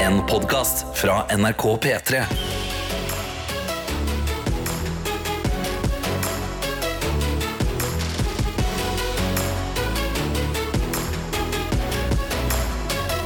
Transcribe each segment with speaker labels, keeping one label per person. Speaker 1: En podcast fra NRK P3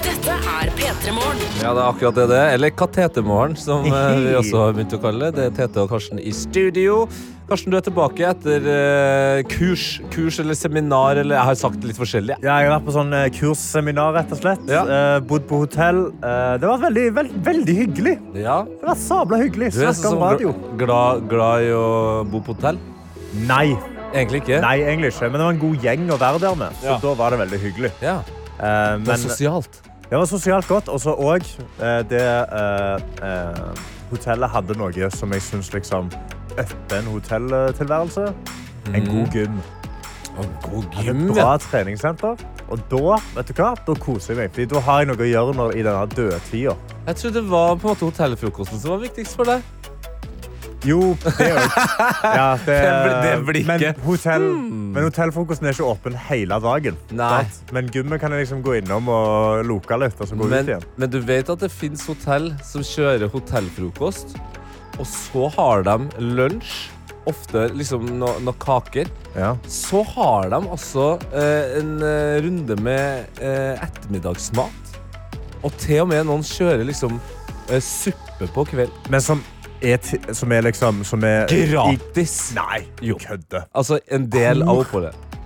Speaker 2: Dette er P3 Morgen.
Speaker 3: Ja, det er akkurat det det er. Eller Katetemorgen, som eh, vi også har begynt å kalle det. Det er Tete og Karsten i studio. Karsten, du er tilbake etter eh, kurs, kurs eller seminar, eller jeg har sagt litt forskjellig.
Speaker 4: Ja, jeg har vært på sånn eh, kursseminar, rett og slett.
Speaker 3: Ja.
Speaker 4: Eh, bodd på hotell. Eh, det var veldig, veld, veldig hyggelig.
Speaker 3: Ja.
Speaker 4: Det var sabla hyggelig.
Speaker 3: Du er
Speaker 4: Snakka
Speaker 3: sånn
Speaker 4: om radio.
Speaker 3: gl- glad, glad i å bo på hotell.
Speaker 4: Nei.
Speaker 3: Egentlig ikke.
Speaker 4: Nei, egentlig ikke. Men det var en god gjeng å være der med. Så
Speaker 3: Ja.
Speaker 4: da var det veldig hyggelig.
Speaker 3: Ja,
Speaker 4: Eh,
Speaker 3: det
Speaker 4: men
Speaker 3: er sosialt.
Speaker 4: det var sosialt godt. Og så òg eh, det eh, eh, Hotellet hadde noe som jeg syns liksom øppet en hotelltilværelse. En god gym.
Speaker 3: Mm. God
Speaker 4: Et
Speaker 3: gym, ja.
Speaker 4: bra treningssenter. Og da, vet du hva? Da koser jeg meg. Fordi da har jeg noe å gjøre når, i denne dødtida.
Speaker 3: Jeg trodde det var på en måte hotellfrokosten som var viktigst for deg.
Speaker 4: Jo, det òg. Ja, det,
Speaker 3: blir- det blir ikke. Hmm.
Speaker 4: Men, hotell, men hotellfrokosten er ikke åpen hele dagen.
Speaker 3: Nei.
Speaker 4: sant? Men gymmet kan jeg liksom gå innom og loke litt, og så gå ut
Speaker 3: Men,
Speaker 4: igjen.
Speaker 3: men du vet at det fins hotell som kjører hotellfrokost, og så har de lunsj. Ofte liksom no- noen kaker.
Speaker 4: Ja.
Speaker 3: Så har de altså eh, en eh, runde med eh, ettermiddagsmat. Og til og med noen kjører liksom eh, suppe på kvelden.
Speaker 4: Men som er, ti- som er liksom som er
Speaker 3: Gratis!
Speaker 4: I, nei,
Speaker 3: Jo.
Speaker 4: kødde.
Speaker 3: Altså en del av
Speaker 4: Hvor
Speaker 3: oppholdet.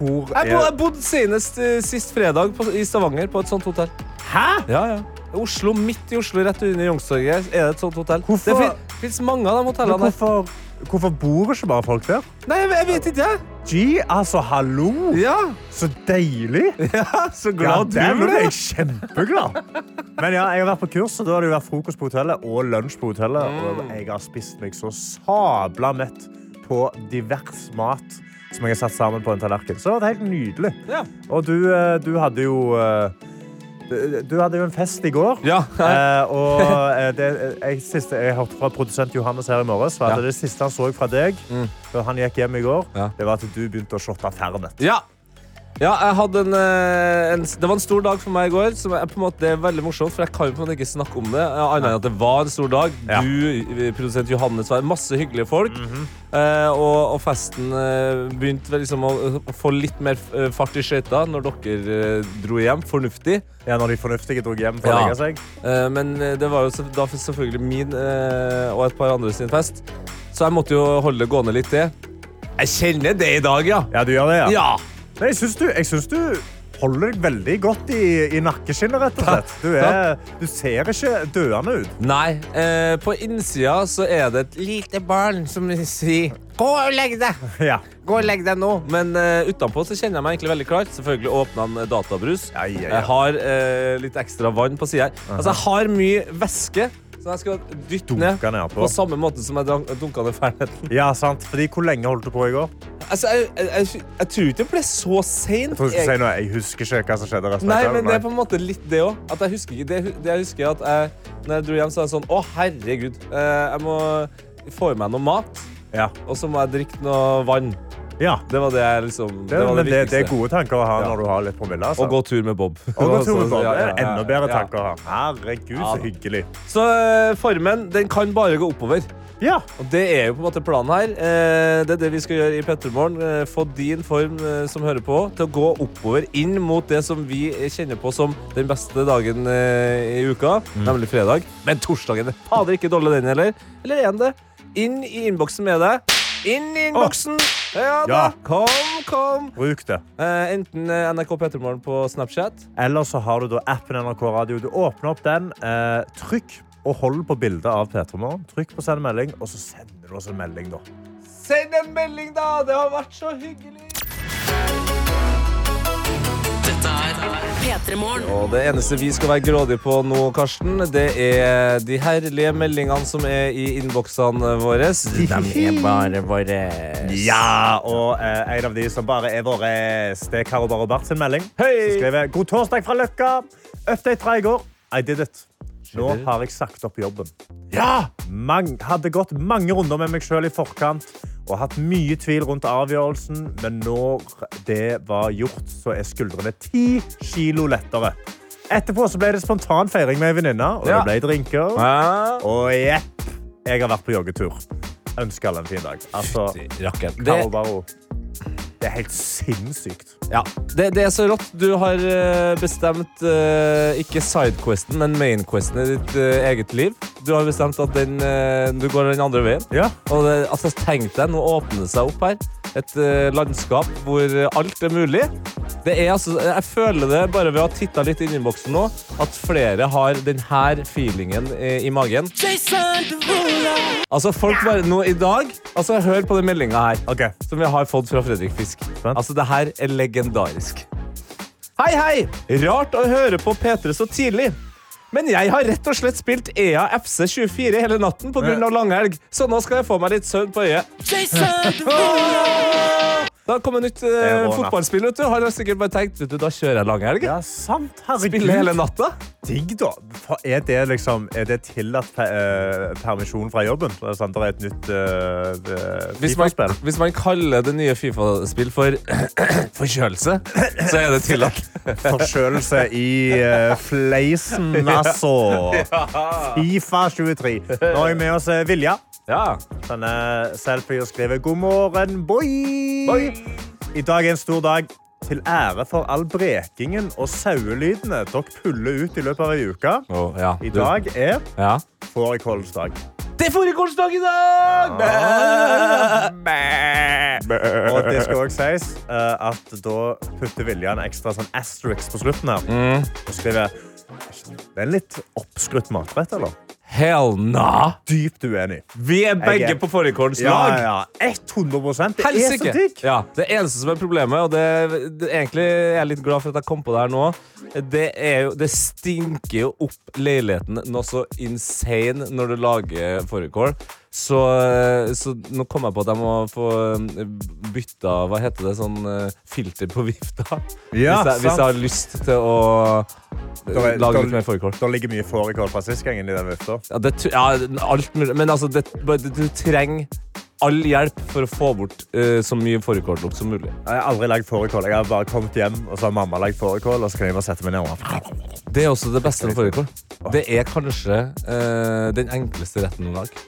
Speaker 4: Hvor
Speaker 3: Jeg, bo, jeg
Speaker 4: er
Speaker 3: bodde senest eh, sist fredag på, i Stavanger på et sånt hotell.
Speaker 4: Hæ?
Speaker 3: Ja, ja. Oslo, midt i Oslo, rett under Youngstorget, er det et sånt hotell. Det
Speaker 4: Hvorfor-
Speaker 3: fin- fins mange av de
Speaker 4: Men
Speaker 3: hotellene her.
Speaker 4: hvorfor, hvorfor bor ikke bare folk der?
Speaker 3: Nei, jeg, jeg vet ikke, jeg.
Speaker 4: Gee, altså, hallo!
Speaker 3: Ja.
Speaker 4: Så deilig!
Speaker 3: ja, så
Speaker 4: ja, der ble jeg kjempeglad. Men ja, jeg har vært på kurs, og da har det jo vært frokost på hotellet og lunsj på hotellet.
Speaker 3: Mm.
Speaker 4: Og jeg har spist meg så sabla mett på divers mat som jeg har satt sammen på en tallerken. Så det var helt nydelig.
Speaker 3: Ja.
Speaker 4: Og du, eh, du hadde jo eh, du- Du hadde jo en fest i går.
Speaker 3: Ja.
Speaker 4: Eh, og eh, det, jeg, siste, jeg hørte fra produsent Johannes her i morges var at
Speaker 3: Ja. Mm.
Speaker 4: det siste han så fra deg, da han gikk hjem i går,
Speaker 3: Ja.
Speaker 4: det var at du begynte å shotte Fernet.
Speaker 3: Ja. Ja, jeg hadde en, eh, en, det var en stor dag for meg i går. Som er på en måte, det er veldig morsomt, for Jeg kan jo på en måte ikke snakke om det. eh, Annet enn at det var en stor dag.
Speaker 4: Ja.
Speaker 3: Du, eh, produsent Johannes, var masse hyggelige folk. eh, og, og festen eh, begynte vel liksom å, å få litt mer eh, fart i skøyta når dere eh, dro hjem. Fornuftig.
Speaker 4: Ja, når de fornuftige dro hjem for
Speaker 3: Ja.
Speaker 4: å legge seg.
Speaker 3: Eh, men eh, det var jo selv- da selvfølgelig min eh, og et par andre sin fest. Så jeg måtte jo holde det gående litt, det. Jeg kjenner det i dag, ja.
Speaker 4: Ja, du gjør det, ja.
Speaker 3: Ja!
Speaker 4: Men jeg syns du, jeg syns du holder deg veldig godt i, i nakkeskinnet, rett og slett. Du, er, du ser ikke døende ut.
Speaker 3: Nei. Eh, på innsida så er det et lite barn som sier 'gå og legg deg'.
Speaker 4: Ja.
Speaker 3: Gå og legg deg nå. Men eh, utenpå så kjenner jeg meg egentlig veldig klart. Selvfølgelig åpna en databrus.
Speaker 4: Ja, ja, ja.
Speaker 3: Jeg har eh, litt ekstra vann på sida her. Altså, jeg har mye væske, så jeg skal dytte ned
Speaker 4: Dunka ned på.
Speaker 3: på samme måte som jeg drank- dunka ned ferdigheten.
Speaker 4: ja, sant. Fordi hvor lenge holdt du på i går?
Speaker 3: Altså, jeg, jeg, jeg, jeg tror ikke det ble så
Speaker 4: Jeg tror du skulle
Speaker 3: seint.
Speaker 4: si noe. Jeg husker ikke hva som skjedde. resten av
Speaker 3: Nei,
Speaker 4: kvelden.
Speaker 3: men det er på en måte litt det òg. At jeg husker ikke det, det jeg husker er at jeg, når jeg dro hjem, så var jeg sånn Å, herregud. eh, Jeg må få i meg noe mat,
Speaker 4: Ja.
Speaker 3: og så må jeg drikke noe vann.
Speaker 4: ja.
Speaker 3: Det var det jeg liksom
Speaker 4: Det,
Speaker 3: var
Speaker 4: men det, det er
Speaker 3: viktigste.
Speaker 4: gode tanker å ha
Speaker 3: Ja.
Speaker 4: når du har litt promille. Altså.
Speaker 3: Og gå tur med Bob.
Speaker 4: Og gå tur med
Speaker 3: Så-
Speaker 4: barn.
Speaker 3: ja,
Speaker 4: Det
Speaker 3: ja,
Speaker 4: er
Speaker 3: ja,
Speaker 4: enda bedre
Speaker 3: ja.
Speaker 4: tanker å ha. Herregud, så
Speaker 3: Ja.
Speaker 4: hyggelig.
Speaker 3: Så eh, formen, den kan bare gå oppover.
Speaker 4: Ja.
Speaker 3: Og det er jo på en måte planen her. Eh, Det er det vi skal gjøre i Pettermorgen. Eh, Få din form eh, som hører på, til å gå oppover inn mot det som vi eh, kjenner på som den beste dagen eh, i uka, nemlig fredag. Men torsdagen er fader ikke dårlig, den heller. Eller er den det? Inn i innboksen med deg. Inn i innboksen! Ja da.
Speaker 4: Ja.
Speaker 3: Kom, kom.
Speaker 4: Bruk det.
Speaker 3: Eh, Enten eh, NRK Pettermorgen på Snapchat.
Speaker 4: Eller så har du da appen NRK Radio. Du åpner opp den, eh, trykk og hold på bildet av P3 Morgen. Trykk på send melding, og så sender du oss en melding, da.
Speaker 3: Send en melding, da! Det har vært så hyggelig.
Speaker 2: Dette er P3 Morgen.
Speaker 3: Og det eneste vi skal være grådige på nå, Karsten, det er de herlige meldingene som er i innboksene våre. De er bare våre.
Speaker 4: Ja, og eh, en av de som bare er våre, det er Karo Barobert sin melding.
Speaker 3: Hei!
Speaker 4: Så skrev jeg God torsdag fra Løkka. Update fra i går. I did it. Nå har jeg sagt opp jobben. Ja! Mang, hadde gått mange runder med meg sjøl i forkant og hatt mye tvil rundt avgjørelsen, men når det var gjort, så er skuldrene ti kilo lettere. Etterpå så ble det spontanfeiring med ei venninne, og det
Speaker 3: Ja.
Speaker 4: ble drinker.
Speaker 3: Ah,
Speaker 4: Og jepp, jeg har vært på joggetur. Ønsker alle en fin dag. Altså,
Speaker 3: rakkeren. Det,
Speaker 4: Carbaro. Det er helt sinnssykt.
Speaker 3: ja, det, det er så rått. Du har eh, bestemt eh, ikke sidequesten, men mainquesten i ditt eh, eget liv. Du har bestemt at den, eh, du går den andre veien.
Speaker 4: Ja.
Speaker 3: Og det, altså, tenk deg, nå åpner det seg opp her. Et eh, landskap hvor eh, alt er mulig. Det er, altså, jeg føler det bare ved å ha titta litt inn i boksen nå, at flere har denne feelingen eh, i magen. Altså, folk bare nå i dag Altså, hør på den meldinga her.
Speaker 4: Ok.
Speaker 3: Som vi har fått fra Fredrik Fisk.
Speaker 4: Spent.
Speaker 3: Altså, det her er legendarisk. Hei, hei! Rart å høre på P3 så tidlig. Men jeg har rett og slett spilt E EA FC 24 hele natten pga. langhelg, så nå skal jeg få meg litt søvn på øyet. Da kommer nytt eh,
Speaker 4: er bra, da.
Speaker 3: fotballspill. vet du Har jeg sikkert bare tenkt vet du, da kjører jeg langhelg.
Speaker 4: Ja, sant. Herregud.
Speaker 3: Spiller hele natta.
Speaker 4: Digg, da. Fa- Er det, liksom, er det tillatt per, eh, permisjon fra jobben? Det er, sant, det er et nytt eh, uh,
Speaker 3: Hvis man,
Speaker 4: FIFA-spill.
Speaker 3: hvis man kaller det nye Fifa-spill for forkjølelse, så er det tillatt.
Speaker 4: Forkjølelse i eh, fleisen, altså. Fifa 23. Nå har jeg med oss eh, Vilja.
Speaker 3: Ja.
Speaker 4: Denne selfie og skriver God morgen, boy! I dag er en stor dag. Til ære for all brekingen og sauelydene dere puller ut i løpet av ei uke.
Speaker 3: Å, ja.
Speaker 4: I
Speaker 3: Du-
Speaker 4: dag er
Speaker 3: Ja.
Speaker 4: fårikålens dag.
Speaker 3: Det er fårikålsdag i dag!
Speaker 4: Ah. Og det skal også sies eh, at da putter Vilja en ekstra sånn asterisk på slutten her.
Speaker 3: Mm.
Speaker 4: Og skriver Det er en litt oppskrutt matrett, eller?
Speaker 3: Hell na!
Speaker 4: Dypt uenig.
Speaker 3: Vi er begge
Speaker 4: Jeg er-
Speaker 3: på fårikålsdag.
Speaker 4: Ja, ja. 100 Det er så
Speaker 3: Helsike!
Speaker 4: digg!
Speaker 3: Ja, det eneste som er problemet, og det, det, egentlig er jeg litt glad for at jeg kom på det her nå, det, er jo, det stinker jo opp leiligheten noe så insane når du lager fårikål. Så, så nå kom jeg på at jeg må få bytta Hva heter det? Sånn eh, filter på vifta.
Speaker 4: Ja,
Speaker 3: hvis, jeg, hvis jeg
Speaker 4: sant.
Speaker 3: har lyst til å uh,
Speaker 4: er- da-
Speaker 3: lage litt mer fårikål.
Speaker 4: Det ligger mye fårikål fra sist gangen i den vifta.
Speaker 3: Ja, det, tr- ja alt mulig. Men altså, det, bare- du, du trenger all hjelp for å få bort eh, så mye fårikållukt som mulig.
Speaker 4: Jeg har aldri lagd fårikål. Jeg har bare kommet hjem og så har mamma lagd fårikål. Og så kan jeg bare sette meg ned og
Speaker 3: Det er også det beste med fårikål. Det er kanskje eh, den enkleste retten å lage.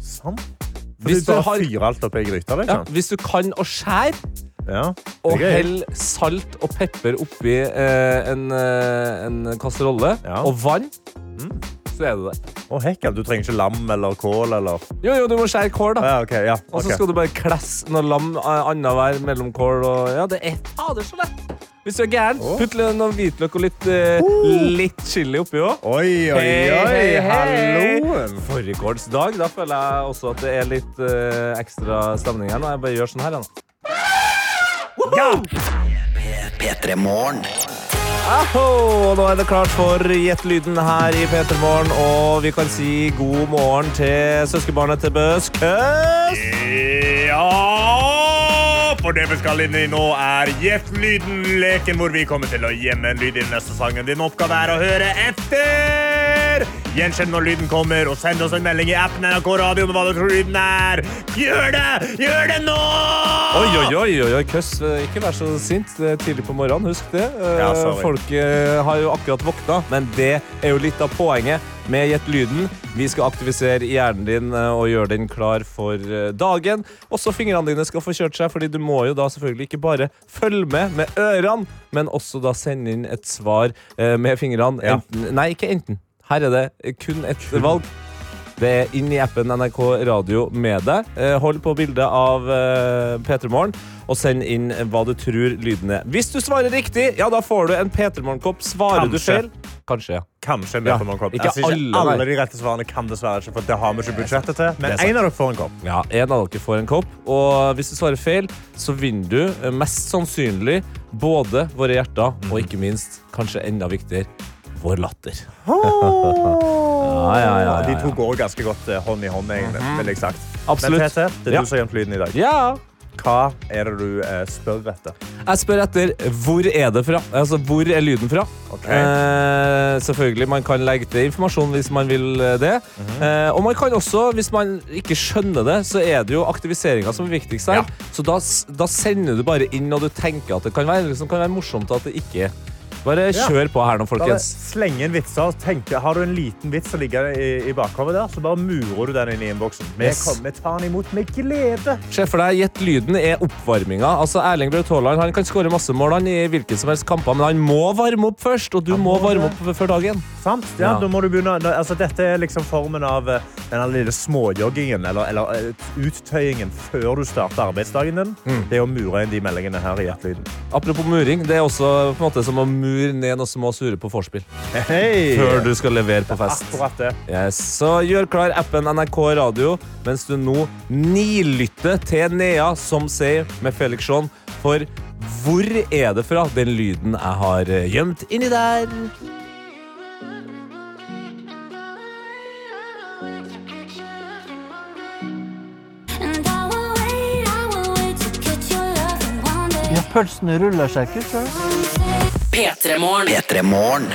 Speaker 4: Sånn.
Speaker 3: Hvis
Speaker 4: Hvis
Speaker 3: du
Speaker 4: du bare
Speaker 3: har-
Speaker 4: fyrer alt oppi ei gryte,
Speaker 3: Ja,
Speaker 4: liksom.
Speaker 3: hvis du kan å skjære
Speaker 4: Ja.
Speaker 3: og
Speaker 4: Det er gøy.
Speaker 3: hell salt og pepper oppi eh, en, eh, en kasserolle
Speaker 4: Ja. Mm.
Speaker 3: og vann, så er det det.
Speaker 4: Å, hekken, du trenger ikke lam eller kål eller
Speaker 3: Jo, jo, du må skjære kål, da.
Speaker 4: ja, ok, ja,
Speaker 3: Og så
Speaker 4: ok.
Speaker 3: skal du bare klesse noe lam eh, annenhver mellom kål og Ja, det er fader så lett! Hvis du er gæren,
Speaker 4: Åh.
Speaker 3: putt litt- noe hvitløk og litt, eh, litt chili oppi òg.
Speaker 4: Oi, oi, oi,
Speaker 3: Hei, hei, hei.
Speaker 4: halloen!
Speaker 3: Fårikålsdag. Da føler jeg også at det er litt eh, ekstra stemning her. nå. Jeg bare gjør sånn her. jeg, nå.
Speaker 1: P3 Morgen.
Speaker 3: Aho! Og nå er det klart for Gjett lyden her i P3 Morgen. Og vi kan si god morgen til søskenbarnet til Bøsk. Høst!
Speaker 4: Ja! For det vi skal inn i nå, er Gjett-lyden, leken hvor vi kommer til å gjemme en lyd i den neste sangen. Din oppgave er å høre etter! Gjenkjenn når lyden kommer, og send oss en melding i appen NRK Radio med hva du tror lyden er. Gjør det! Gjør det nå!
Speaker 3: Oi, oi, oi, oi, oi, køss. Eh, Ikke vær så sint. Det er tidlig på morgenen, husk det. Eh,
Speaker 4: Ja, sorry.
Speaker 3: Folk eh, har jo akkurat våkna, men det er jo litt av poenget med Gjett lyden. Vi skal aktivisere hjernen din eh, og gjøre den klar for eh, dagen. Også fingrene dine skal få kjørt seg, fordi du må jo da selvfølgelig ikke bare følge med med ørene, men også da sende inn et svar eh, med fingrene.
Speaker 4: Ja.
Speaker 3: Enten, nei, ikke enten. Her er det eh, kun et valg. Det er inn i appen NRK Radio med deg. Eh, Hold på bildet av eh, P3 Morgen og send inn hva du tror lyden er. Hvis du svarer riktig, ja, da får du en P3 Morgen-kopp. Svarer du
Speaker 4: Kanskje.
Speaker 3: feil Kanskje, ja.
Speaker 4: Kanskje en
Speaker 3: Ja,
Speaker 4: Metermann-kopp.
Speaker 3: ikke
Speaker 4: altså,
Speaker 3: alle,
Speaker 4: ikke
Speaker 3: nei.
Speaker 4: alle de rette svarene kan dessverre ikke, for det har vi ikke budsjettet til. Men
Speaker 3: sant.
Speaker 4: en av dere får en kopp.
Speaker 3: ja. En av dere får en kopp. Og hvis du svarer feil, så vinner du eh, mest sannsynlig både våre hjerter og ikke minst, kanskje enda viktigere, vår latter. Ja, ja, ja, ja,
Speaker 4: Oh! De to går ganske godt eh, hånd i hånd, egentlig, vil jeg sagt.
Speaker 3: Absolutt.
Speaker 4: Men Tete, det er
Speaker 3: Ja.
Speaker 4: du som har gjemt lyden i dag.
Speaker 3: Ja.
Speaker 4: Hva er det du eh, spør etter?
Speaker 3: Jeg spør etter hvor er det fra? Altså, hvor er lyden fra?
Speaker 4: Ok.
Speaker 3: Eh, selvfølgelig, Man kan legge til informasjon hvis man vil eh, det.
Speaker 4: Mhm.
Speaker 3: eh, og man kan også, hvis man ikke skjønner det, så er det jo aktiviseringa som er viktigst her.
Speaker 4: Ja.
Speaker 3: Så da, s- da sender du bare inn og du tenker at det kan være, liksom, kan være morsomt at det ikke Bare
Speaker 4: Ja.
Speaker 3: kjør på her nå,
Speaker 4: Bare
Speaker 3: folkens.
Speaker 4: slenge inn vitser. Tenk, har du en liten vits som ligger i, i bakhodet der, så bare murer du den inn i innboksen. Vi
Speaker 3: Yes.
Speaker 4: kommer, tar den imot med glede.
Speaker 3: Se for deg, gjett lyden er oppvarminga. Altså, Erling Braut Haaland han kan skåre masse mål han i hvilke som helst kamper, men han må varme opp først, og du må
Speaker 4: må
Speaker 3: varme
Speaker 4: det.
Speaker 3: opp før dagen.
Speaker 4: Sant? Ja,
Speaker 3: Ja.
Speaker 4: Da må du begynne, da, altså, dette er liksom formen av eh, den her lille småjoggingen eller, eller eh, uttøyingen før du starter arbeidsdagen din.
Speaker 3: Mm.
Speaker 4: Det er å mure inn de meldingene her i hjertelyden.
Speaker 3: Apropos muring, det er også på en måte som å mure ned noen små sure på vorspiel
Speaker 4: Hei!
Speaker 3: før du skal levere på fest.
Speaker 4: Akkurat det.
Speaker 3: Yes. Så gjør klar appen NRK Radio mens du nå nilytter til Nea som sier med Felix Jean, for hvor er det fra den lyden jeg har eh, gjemt inni der?
Speaker 5: And I will wait, I will wait to get your love and one day.
Speaker 6: Ja, pølsene ruller seg ikke, så.
Speaker 2: P3-morgen.
Speaker 1: P3 Morgen.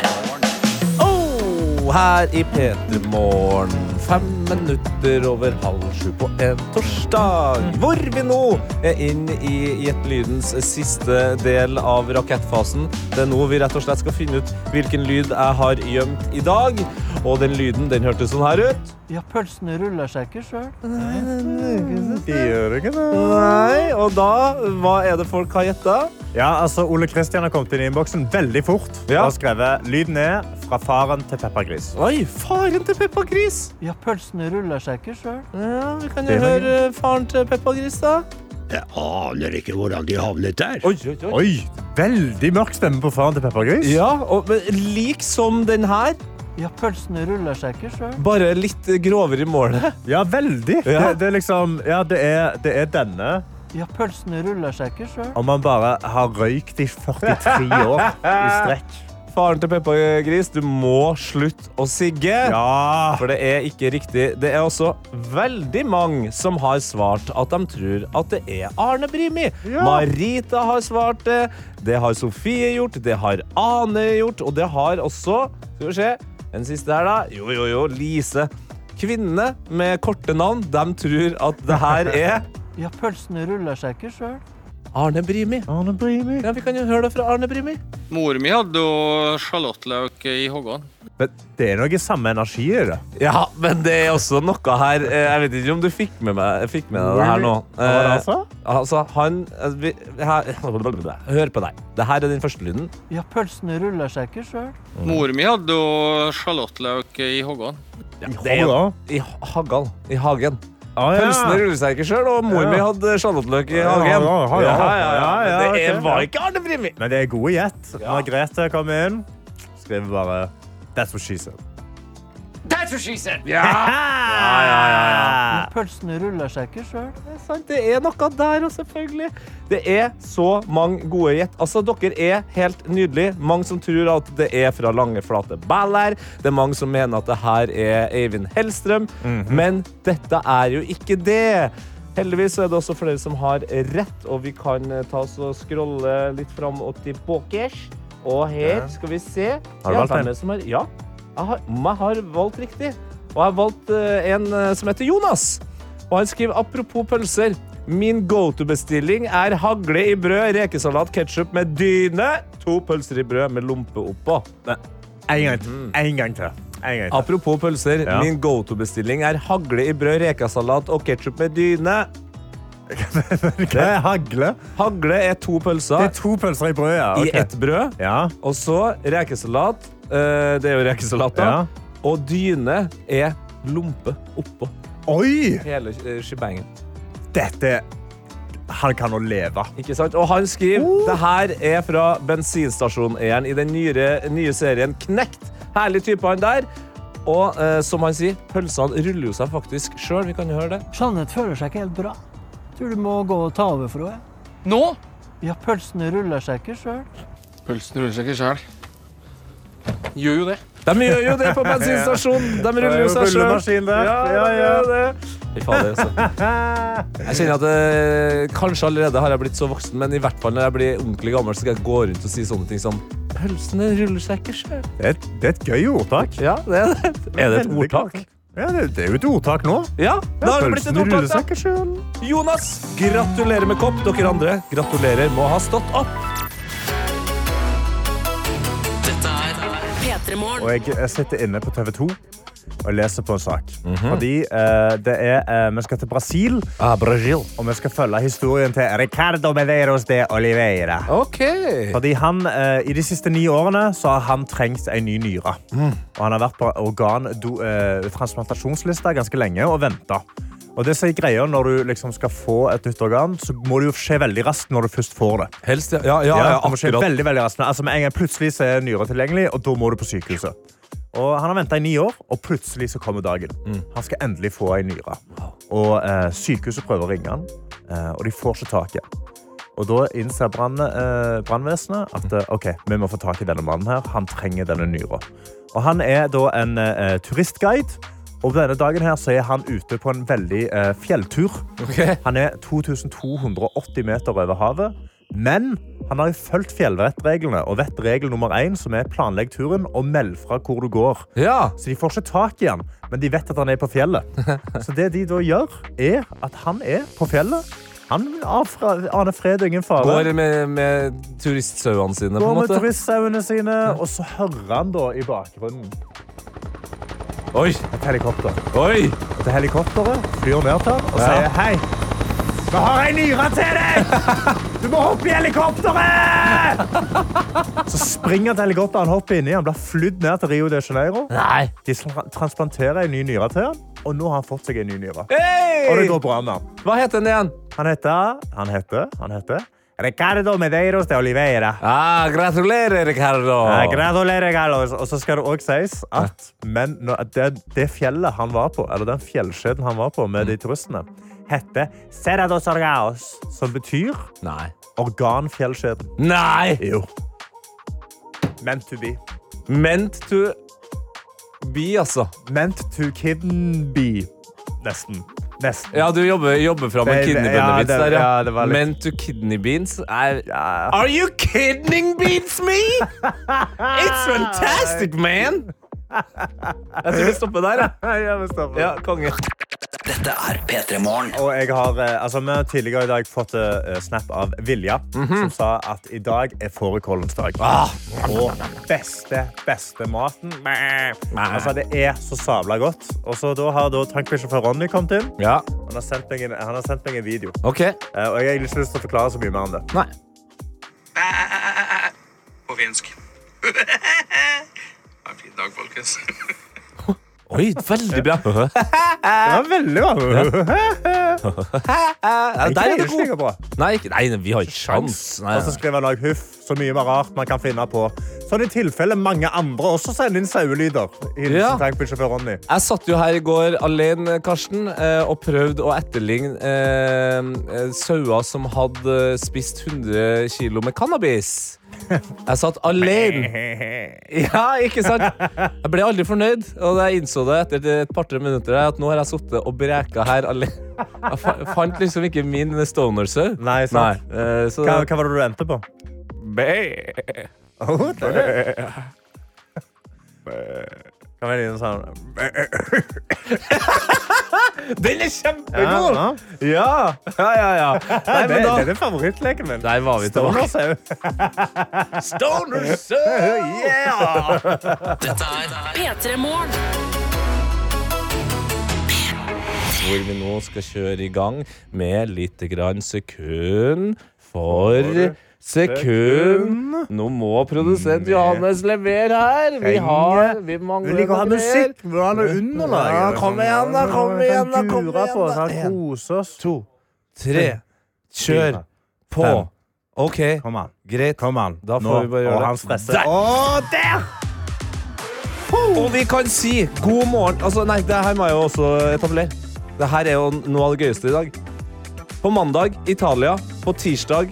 Speaker 3: Oh, her i P3morgen. Fem minutter over halv sju på en torsdag. Hvor vi nå er inn i Gjettelydens siste del av rakettfasen. Det er nå vi rett og slett skal finne ut hvilken lyd jeg har gjemt i dag. Og den lyden den hørtes sånn her ut.
Speaker 6: Ja, pølsene ruller seg ikke sjøl.
Speaker 4: Gjør du ikke det?
Speaker 3: Nei, og da, hva er det folk har gjetta?
Speaker 4: Ja, altså, Ole Kristian har kommet inn i innboksen veldig fort
Speaker 3: Ja.
Speaker 4: og har skrevet lyden er fra faren til Peppa Gris.
Speaker 3: Oi, faren til Peppa Gris!
Speaker 6: Ja, pølsene ruller seg ikke sjøl.
Speaker 3: Ja, Vi kan jo
Speaker 4: Det var
Speaker 3: høre faren til Peppa Gris, da.
Speaker 7: Jeg aner ikke hvordan de havnet der.
Speaker 3: Oi, oi, oi.
Speaker 4: Oi, veldig mørk stemme på faren til Peppa Gris.
Speaker 3: Ja, og, men lik som den her,
Speaker 6: Ja, pølsene ruller seg ikke sjøl.
Speaker 3: bare litt grovere i målet.
Speaker 4: Ja, veldig.
Speaker 3: Ja.
Speaker 4: Det, det er liksom, ja, det er, det er denne.
Speaker 6: Ja, pølsene ruller seg ikke sjøl.
Speaker 4: Om man bare har røykt i 43 år i strekk.
Speaker 3: Faren til Peppa Gris, du må slutte å sigge.
Speaker 4: Ja.
Speaker 3: For det er ikke riktig. Det er også veldig mange som har svart at de tror at det er Arne Brimi.
Speaker 4: Ja.
Speaker 3: Marita har svart det. Det har Sofie gjort. Det har Ane gjort. Og det har også Skal vi se. Den siste her, da. Jo, jo, jo. Lise. Kvinnene med korte navn, de tror at det her er
Speaker 6: Ja, pølsene ruller seg ikke sjøl.
Speaker 3: Arne Brimi.
Speaker 4: Arne Brimi.
Speaker 3: Ja, vi kan jo høre det fra Arne Brimi.
Speaker 8: Mor mi hadde jo sjalottløk i hoggene.
Speaker 4: Men det er noe samme energi i det.
Speaker 3: Ja, men det er også noe her eh, Jeg vet ikke om du fikk med, meg, fikk med deg det her nå.
Speaker 4: Hva var det han
Speaker 3: Eh, altså, han eh, vi, her, Hør på deg. Dette er den første lyden.
Speaker 6: Ja, pølsene ruller seg ikke sjøl.
Speaker 8: Mor mi hadde jo sjalottløk i hoggene.
Speaker 3: Det er jo i hagal. I hagen.
Speaker 4: Ah, ja.
Speaker 3: Pølsene ruller seg ikke sjøl, og mor
Speaker 4: Ja.
Speaker 3: mi hadde sjalottløk i
Speaker 4: Ja,
Speaker 3: hagen.
Speaker 4: ja, ja, ja. Ja, ja,
Speaker 3: Men Det
Speaker 4: ok,
Speaker 3: er, var
Speaker 4: ja.
Speaker 3: ikke Arne Brimi.
Speaker 4: Men det er gode gjett. Margrethe kom inn. Skriver bare That's what she said.
Speaker 6: Ja, pølsene ruller seg ikke sjøl.
Speaker 3: Det er sant, det er noe der òg, selvfølgelig. Det er så mange gode gjett. Altså, dere er helt nydelige. Mange som tror at det er fra Lange flate baller. Det er mange som mener at det her er Eivind Hellstrøm.
Speaker 4: Mhm.
Speaker 3: Men dette er jo ikke det. Heldigvis så er det også flere som har rett, og vi kan eh, ta oss og scrolle litt fram og tilbake. Og her skal vi se.
Speaker 4: Har du
Speaker 3: Ja,
Speaker 4: valgt
Speaker 3: hvem
Speaker 4: en?
Speaker 3: er det som har- Ja. Jeg har, om jeg har valgt riktig. Og jeg har valgt eh, en eh, som heter Jonas. Og han skriver apropos pølser. Min go-to-bestilling er hagle i brød, rekesalat, ketsjup med dyne. To pølser i brød med lompe oppå.
Speaker 4: En gang til.
Speaker 3: Mm-hmm.
Speaker 4: En gang til. En gang til.
Speaker 3: Apropos pølser.
Speaker 4: Ja.
Speaker 3: Min go-to-bestilling er hagle i brød, rekesalat og ketsjup med dyne.
Speaker 4: Det er hagle.
Speaker 3: Hagle er to
Speaker 4: Det
Speaker 3: pølser
Speaker 4: er to pølser i brødet. ja. Ok.
Speaker 3: i ett brød.
Speaker 4: Ja.
Speaker 3: Og så rekesalat. eh, Det er jo rekesalat, da.
Speaker 4: Ja.
Speaker 3: Og dyne er lompe oppå.
Speaker 4: Oi!
Speaker 3: Hele eh, shebangen.
Speaker 4: Dette Han kan nå leve.
Speaker 3: Ikke sant? Og han skriver
Speaker 4: Oh.
Speaker 3: det her er fra bensinstasjoneieren i den nye, nye serien Knekt. Herlig type han der. Og eh, som han sier, pølsene ruller jo seg faktisk sjøl. Vi kan jo høre det.
Speaker 6: Jeanette føler seg ikke helt bra. Tror du må gå og ta over for henne. jeg.
Speaker 8: Nå?
Speaker 6: Ja, pølsene ruller seg ikke sjøl.
Speaker 8: Pølsen ruller seg ikke sjæl. Gjør jo det.
Speaker 3: De gjør jo det på bensinstasjonen! De ruller jo seg
Speaker 4: Rullemaskin
Speaker 3: sjøl.
Speaker 4: der. Ja, ja.
Speaker 3: Fy fader, altså. Jeg kjenner at eh, kanskje allerede har jeg blitt så voksen, men i hvert fall når jeg blir ordentlig gammel, så skal jeg gå rundt og si sånne ting som Pølsene ruller seg ikke sjøl.
Speaker 4: Det er et, det er et gøy ordtak.
Speaker 3: Ja, det er det. Er det et
Speaker 4: Veldig
Speaker 3: ordtak?
Speaker 4: godt. Ja, det, det er jo et ordtak nå.
Speaker 3: Ja, da har det blitt et
Speaker 4: Pølsen
Speaker 3: ordtak,
Speaker 4: ruller
Speaker 3: da.
Speaker 4: seg ikke selv.
Speaker 3: Jonas, gratulerer med kopp. Dere andre, gratulerer med å ha stått opp.
Speaker 2: Petremorne.
Speaker 4: Og jeg, jeg sitter inne på TV 2 og leser på en sak. Fordi eh, det er, eh, vi skal til Brasil,
Speaker 3: Ah,
Speaker 4: og vi skal følge historien til Ricardo Medeiros de Oliveira.
Speaker 3: OK.
Speaker 4: Fordi han, eh, I de siste ni årene så har han trengt en ny nyre. Og han har vært på organtransplantasjonslista ganske lenge og venta. Og det som er greia Når du liksom skal få et nytt organ, så må det jo skje veldig raskt når du først får det.
Speaker 3: Helst, ja. Ja, ja,
Speaker 4: Ja,
Speaker 3: ja
Speaker 4: det må skje
Speaker 3: akkurat.
Speaker 4: veldig, veldig raskt. Altså, med en gang plutselig så er nyra tilgjengelig, og da må du på sykehuset. Og Han har venta i ni år, og plutselig så kommer dagen. Han skal endelig få ei nyre. Og eh, Sykehuset prøver å ringe han, eh, og de får ikke tak i han. Og Da innser brann- eh, brannvesenet at eh, ok, vi må få tak i denne mannen. her. Han trenger denne nyra. Og Han er da en eh, turistguide, og denne dagen her så er han ute på en veldig eh, fjelltur.
Speaker 3: Ok.
Speaker 4: Han er 2280 meter over havet, men han har jo fulgt fjellvettreglene og vet regel nummer én, som er planlegg turen og meld fra hvor du går.
Speaker 3: Ja.
Speaker 4: Så de får ikke tak i han, men de vet at han er på fjellet. Så det de da gjør, er at han er på fjellet. Han avfra- aner fred og ingen fare.
Speaker 3: Går med, med turistsauene sine, på
Speaker 4: Går
Speaker 3: en
Speaker 4: med
Speaker 3: måte.
Speaker 4: turistsauene sine, og så hører han da i bakgrunnen
Speaker 3: Oi,
Speaker 4: et helikopter.
Speaker 3: oi!
Speaker 4: til helikopteret, flyr ned til han og sier hei. Vi har ei nyre til deg! Du må hoppe i helikopteret! Så springer han til helikopteret, han hopper inni, han blir flydd ned til Rio de Janeiro.
Speaker 6: Nei.
Speaker 4: De sl- transplanterer ei ny nyre til han, og nå har han fått seg ei ny nyre. Og det
Speaker 3: Hey!
Speaker 4: går bra med han.
Speaker 3: Hva heter den igjen?
Speaker 4: Han heter, han heter, han heter Ricardo Medeiros de Oliveira.
Speaker 3: Ah, gratulerer, Ricardo.
Speaker 4: Ja, Gratulerer, Carlos. Og så skal det òg sies at men, nå- at det, det fjellet han var på, eller den fjellkjeden han var på med de turistene, heter Serra dos Orgaos, som betyr
Speaker 3: Nei.
Speaker 4: organfjellkjeden.
Speaker 3: Nei!
Speaker 4: Jo. Meant to be.
Speaker 3: Meant to be, altså.
Speaker 4: Meant to kidden be. Nesten. Nesten.
Speaker 3: Ja, du jobber, jobber fram en
Speaker 4: Det- det- ja,
Speaker 3: kidneybønnevits
Speaker 4: det-
Speaker 3: der, ja.
Speaker 4: ja, det var litt-
Speaker 3: Meant to kidney beans er
Speaker 4: Ja.
Speaker 3: Are you kidding beans me?! It's fantastic, man! Jeg tror vi stopper der, jeg.
Speaker 4: Ja, vi stopper.
Speaker 3: Ja, konge.
Speaker 1: Dette er P3 Morgen.
Speaker 4: Og jeg har, eh, altså, vi har tidligere i dag fått eh, snap av Vilja,
Speaker 3: Mhm.
Speaker 4: som sa at i dag er fårikålens dag.
Speaker 3: Ah.
Speaker 4: Og beste, beste maten. Altså, det er så sabla godt. Og så da har da tankbilsjåfør Ronny kommet inn.
Speaker 3: Ja,
Speaker 4: Han har sendt meg en, han har sendt meg en video.
Speaker 3: OK.
Speaker 4: Eh, Og jeg har egentlig ikke lyst til å forklare så mye mer om det.
Speaker 3: Nei.
Speaker 9: på finsk. Ha en fin dag, folkens.
Speaker 3: Oi, veldig bra.
Speaker 4: Det var veldig bra.
Speaker 3: Ja, der er
Speaker 4: Jeg
Speaker 3: du
Speaker 4: ikke like
Speaker 3: god.
Speaker 4: bra.
Speaker 3: Nei, ikke, nei, vi har ikke sjans. Nei,
Speaker 4: Og så
Speaker 3: nei.
Speaker 4: skriver han også, huff, så mye mer rart man kan finne på. Sånn i tilfelle mange andre også sender inn sauelyder. Hilsen
Speaker 3: Ja.
Speaker 4: tankbilsjåfør Ronny.
Speaker 3: Jeg satt jo her i går alene, Karsten, eh, og prøvde å etterligne eh, eh, sauer som hadde eh, spist 100 kilo med cannabis. Jeg satt alene. Ja, ikke sant? Jeg ble aldri fornøyd, og jeg innså det etter et par-tre minutter her, at nå har jeg sittet og breka her alene. Jeg fa- fant liksom ikke min stoner-sau.
Speaker 4: Nei, sant.
Speaker 3: eh, så
Speaker 4: Hva, hva var det du endte på? Oh, det er det. Kan være litt sånn
Speaker 3: Den er kjempegod!
Speaker 4: Ja,
Speaker 3: Ja, ja, ja. ja. Nei,
Speaker 4: det,
Speaker 3: men
Speaker 4: det er
Speaker 3: da
Speaker 4: den favorittleken min.
Speaker 3: Der var vi tilbake.
Speaker 4: Stonersau. Yeah!
Speaker 2: Dette er Petremorne.
Speaker 3: hvor vi nå skal kjøre i gang med litt grann sekund for sekund. Nå må produsent Johannes levere her. Vi har Vi
Speaker 4: Vi
Speaker 3: mangler
Speaker 4: liker å ha
Speaker 3: noe mer.
Speaker 4: musikk. Vi vil ha noe underlag.
Speaker 3: Ja, kom igjen da, kom igjen da, kom
Speaker 4: Dura på oss,
Speaker 3: igjen da.
Speaker 4: her, kose oss.
Speaker 3: To, tre, kjør på.
Speaker 4: Fem.
Speaker 3: OK,
Speaker 4: Kom an.
Speaker 3: greit.
Speaker 4: Kom an.
Speaker 3: Da får
Speaker 4: Nå.
Speaker 3: vi bare gjøre
Speaker 4: Og
Speaker 3: det.
Speaker 4: han stresser.
Speaker 3: Der!
Speaker 4: Å, der!
Speaker 3: Og vi kan si god morgen Altså, nei, det her må jeg jo også etablere. Det her er jo noe av det gøyeste i dag. På mandag Italia. På tirsdag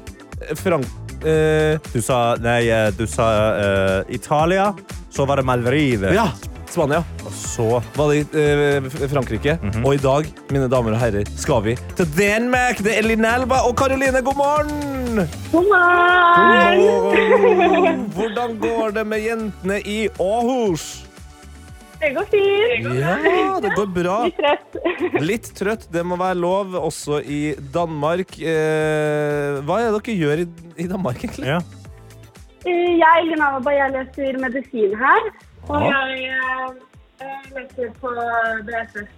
Speaker 3: eh, Frank... Eh,
Speaker 4: Du sa Nei, eh, du sa eh, Italia. Så var det Malverive.
Speaker 3: ja! Spania.
Speaker 4: Og så
Speaker 3: Var det eh, F- Frankrike. Og i dag, mine damer og herrer, skal vi til Danmark. Det er Linn Elba og Karoline, god morgen! God morgen! Hvordan går det med jentene i Åhus?
Speaker 10: Det går fint.
Speaker 3: Ja, det går bra.
Speaker 10: Litt trøtt.
Speaker 3: Litt trøtt, det må være lov, også i Danmark. Eh, hva er det dere gjør i, i Danmark, egentlig?
Speaker 4: Ja.
Speaker 10: Jeg, Lina Abba, jeg leser medisin her. Og jeg eh, eh, leser på BSS. Eh,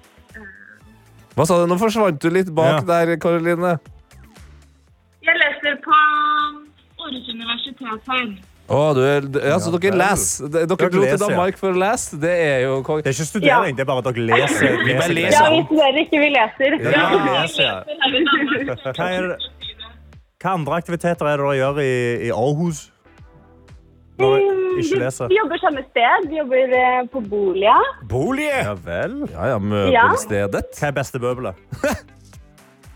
Speaker 3: Hva sa du? Nå forsvant du litt bak der, Karoline.
Speaker 10: Jeg leser på Århus universitet her.
Speaker 3: Å, du er, ja, så
Speaker 4: Ja,
Speaker 3: dere
Speaker 4: vel.
Speaker 3: leser. Dere dro
Speaker 4: Dere
Speaker 3: til
Speaker 4: leser, ja.
Speaker 3: Danmark for å lese. Det er jo kong...
Speaker 4: Det er ikke studering, det er bare at dere leser.
Speaker 3: Vi bare leser.
Speaker 10: Ja, vi studerer ikke, vi leser.
Speaker 4: Ja, vi leser, ja.
Speaker 10: her i Danmark.
Speaker 4: Hva, er, det- hva andre aktiviteter er det dere gjør i, i Aarhus? Når dere ikke
Speaker 10: Vi-
Speaker 4: leser?
Speaker 10: Vi jobber samme sted. Vi jobber eh, på Bolia.
Speaker 3: Bolig!
Speaker 4: Ja vel.
Speaker 3: Ja, ja, møbelstedet.
Speaker 4: Hva er beste møbelet?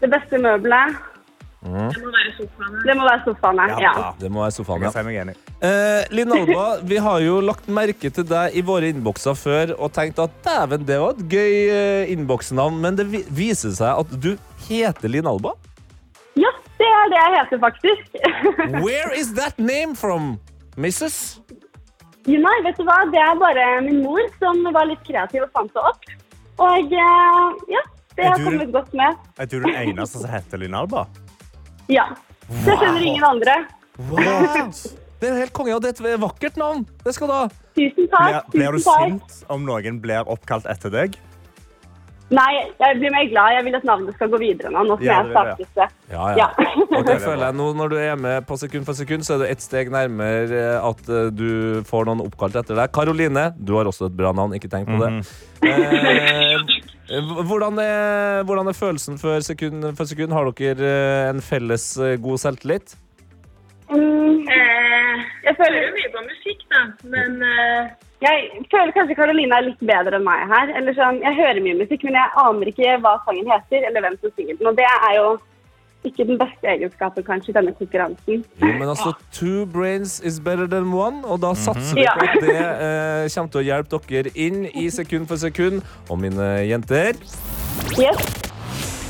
Speaker 10: Det beste møbelet. Det må være sofaene. Ja.
Speaker 3: Det må være sofaen,
Speaker 4: Jeg
Speaker 3: ja.
Speaker 4: kan si meg enig.
Speaker 3: Eh, Linn Alba, vi har jo lagt merke til deg i våre innbokser før og tenkt at dæven, det var et gøy eh, innboksnavn, men det vi viser seg at du heter Linn Alba.
Speaker 10: ja, det er det jeg heter faktisk.
Speaker 3: Where is that name from, Mrs.?
Speaker 10: Jo, Nei, vet du hva? Det er bare min mor som var litt kreativ og fant det opp. Og eh, ja, det
Speaker 4: Er
Speaker 10: har
Speaker 4: du-
Speaker 10: kommet godt med.
Speaker 4: Er du den eneste som heter Linn Alba?
Speaker 10: Ja. Så jeg kjenner ingen andre.
Speaker 3: What? Det er helt konge, og det er et vakkert navn. Det skal du ha.
Speaker 10: Tusen
Speaker 4: Blir,
Speaker 10: takk.
Speaker 4: blir du
Speaker 10: tusen takk.
Speaker 4: sint om noen blir oppkalt etter deg?
Speaker 10: Nei, jeg blir mer glad. Jeg vil at navnet skal gå videre nå, nå som
Speaker 4: Ja,
Speaker 10: jeg
Speaker 4: det vil
Speaker 10: startet det.
Speaker 3: Ja,
Speaker 10: Ja.
Speaker 3: Og det føler jeg nå, når du er med på sekund for sekund, så er du ett steg nærmere eh, at eh, du får noen oppkalt etter deg. Karoline, du har også et bra navn, ikke tenk på det. Eh, h- hvordan, er, hvordan er følelsen for sekund for sekund? Har dere eh, en felles eh, god selvtillit?
Speaker 10: Mm, jeg føler jo mye på musikk, da, men eh, Jeg føler kanskje Karoline er litt bedre enn meg her. Eller sånn, jeg hører mye musikk, men jeg aner ikke hva sangen heter, eller hvem som synger den. Og det er jo ikke den beste egenskapen, kanskje, i denne konkurransen.
Speaker 3: Jo, men altså, two brains is better than one, og da satser vi
Speaker 10: Ja.
Speaker 3: på at det eh, kommer til å hjelpe dere inn i sekund for sekund. Og mine jenter
Speaker 10: Yes.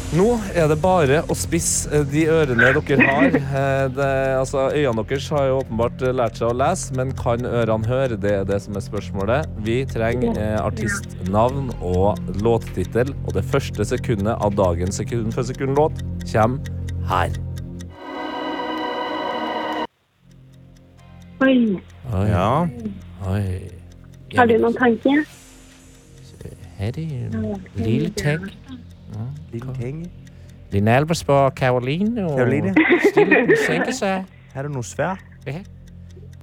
Speaker 3: Nå er det bare å spisse eh, de ørene dere har. Eh, Det, altså, øynene deres har jo åpenbart eh, lært seg å lese, men kan ørene høre? Det er det som er spørsmålet. Vi trenger eh, artistnavn og låttittel, og det første sekundet av dagens sekund for sekund-låt kommer her.
Speaker 10: Oi,
Speaker 3: Oi,
Speaker 4: Ja.
Speaker 3: oi.
Speaker 10: har du noen tanker?
Speaker 3: Her er Lille Tech,
Speaker 4: Lille ting.
Speaker 3: Linn Elversborg, Caroline og
Speaker 4: Karoline,
Speaker 3: Stille senker seg.
Speaker 4: er det noe svært?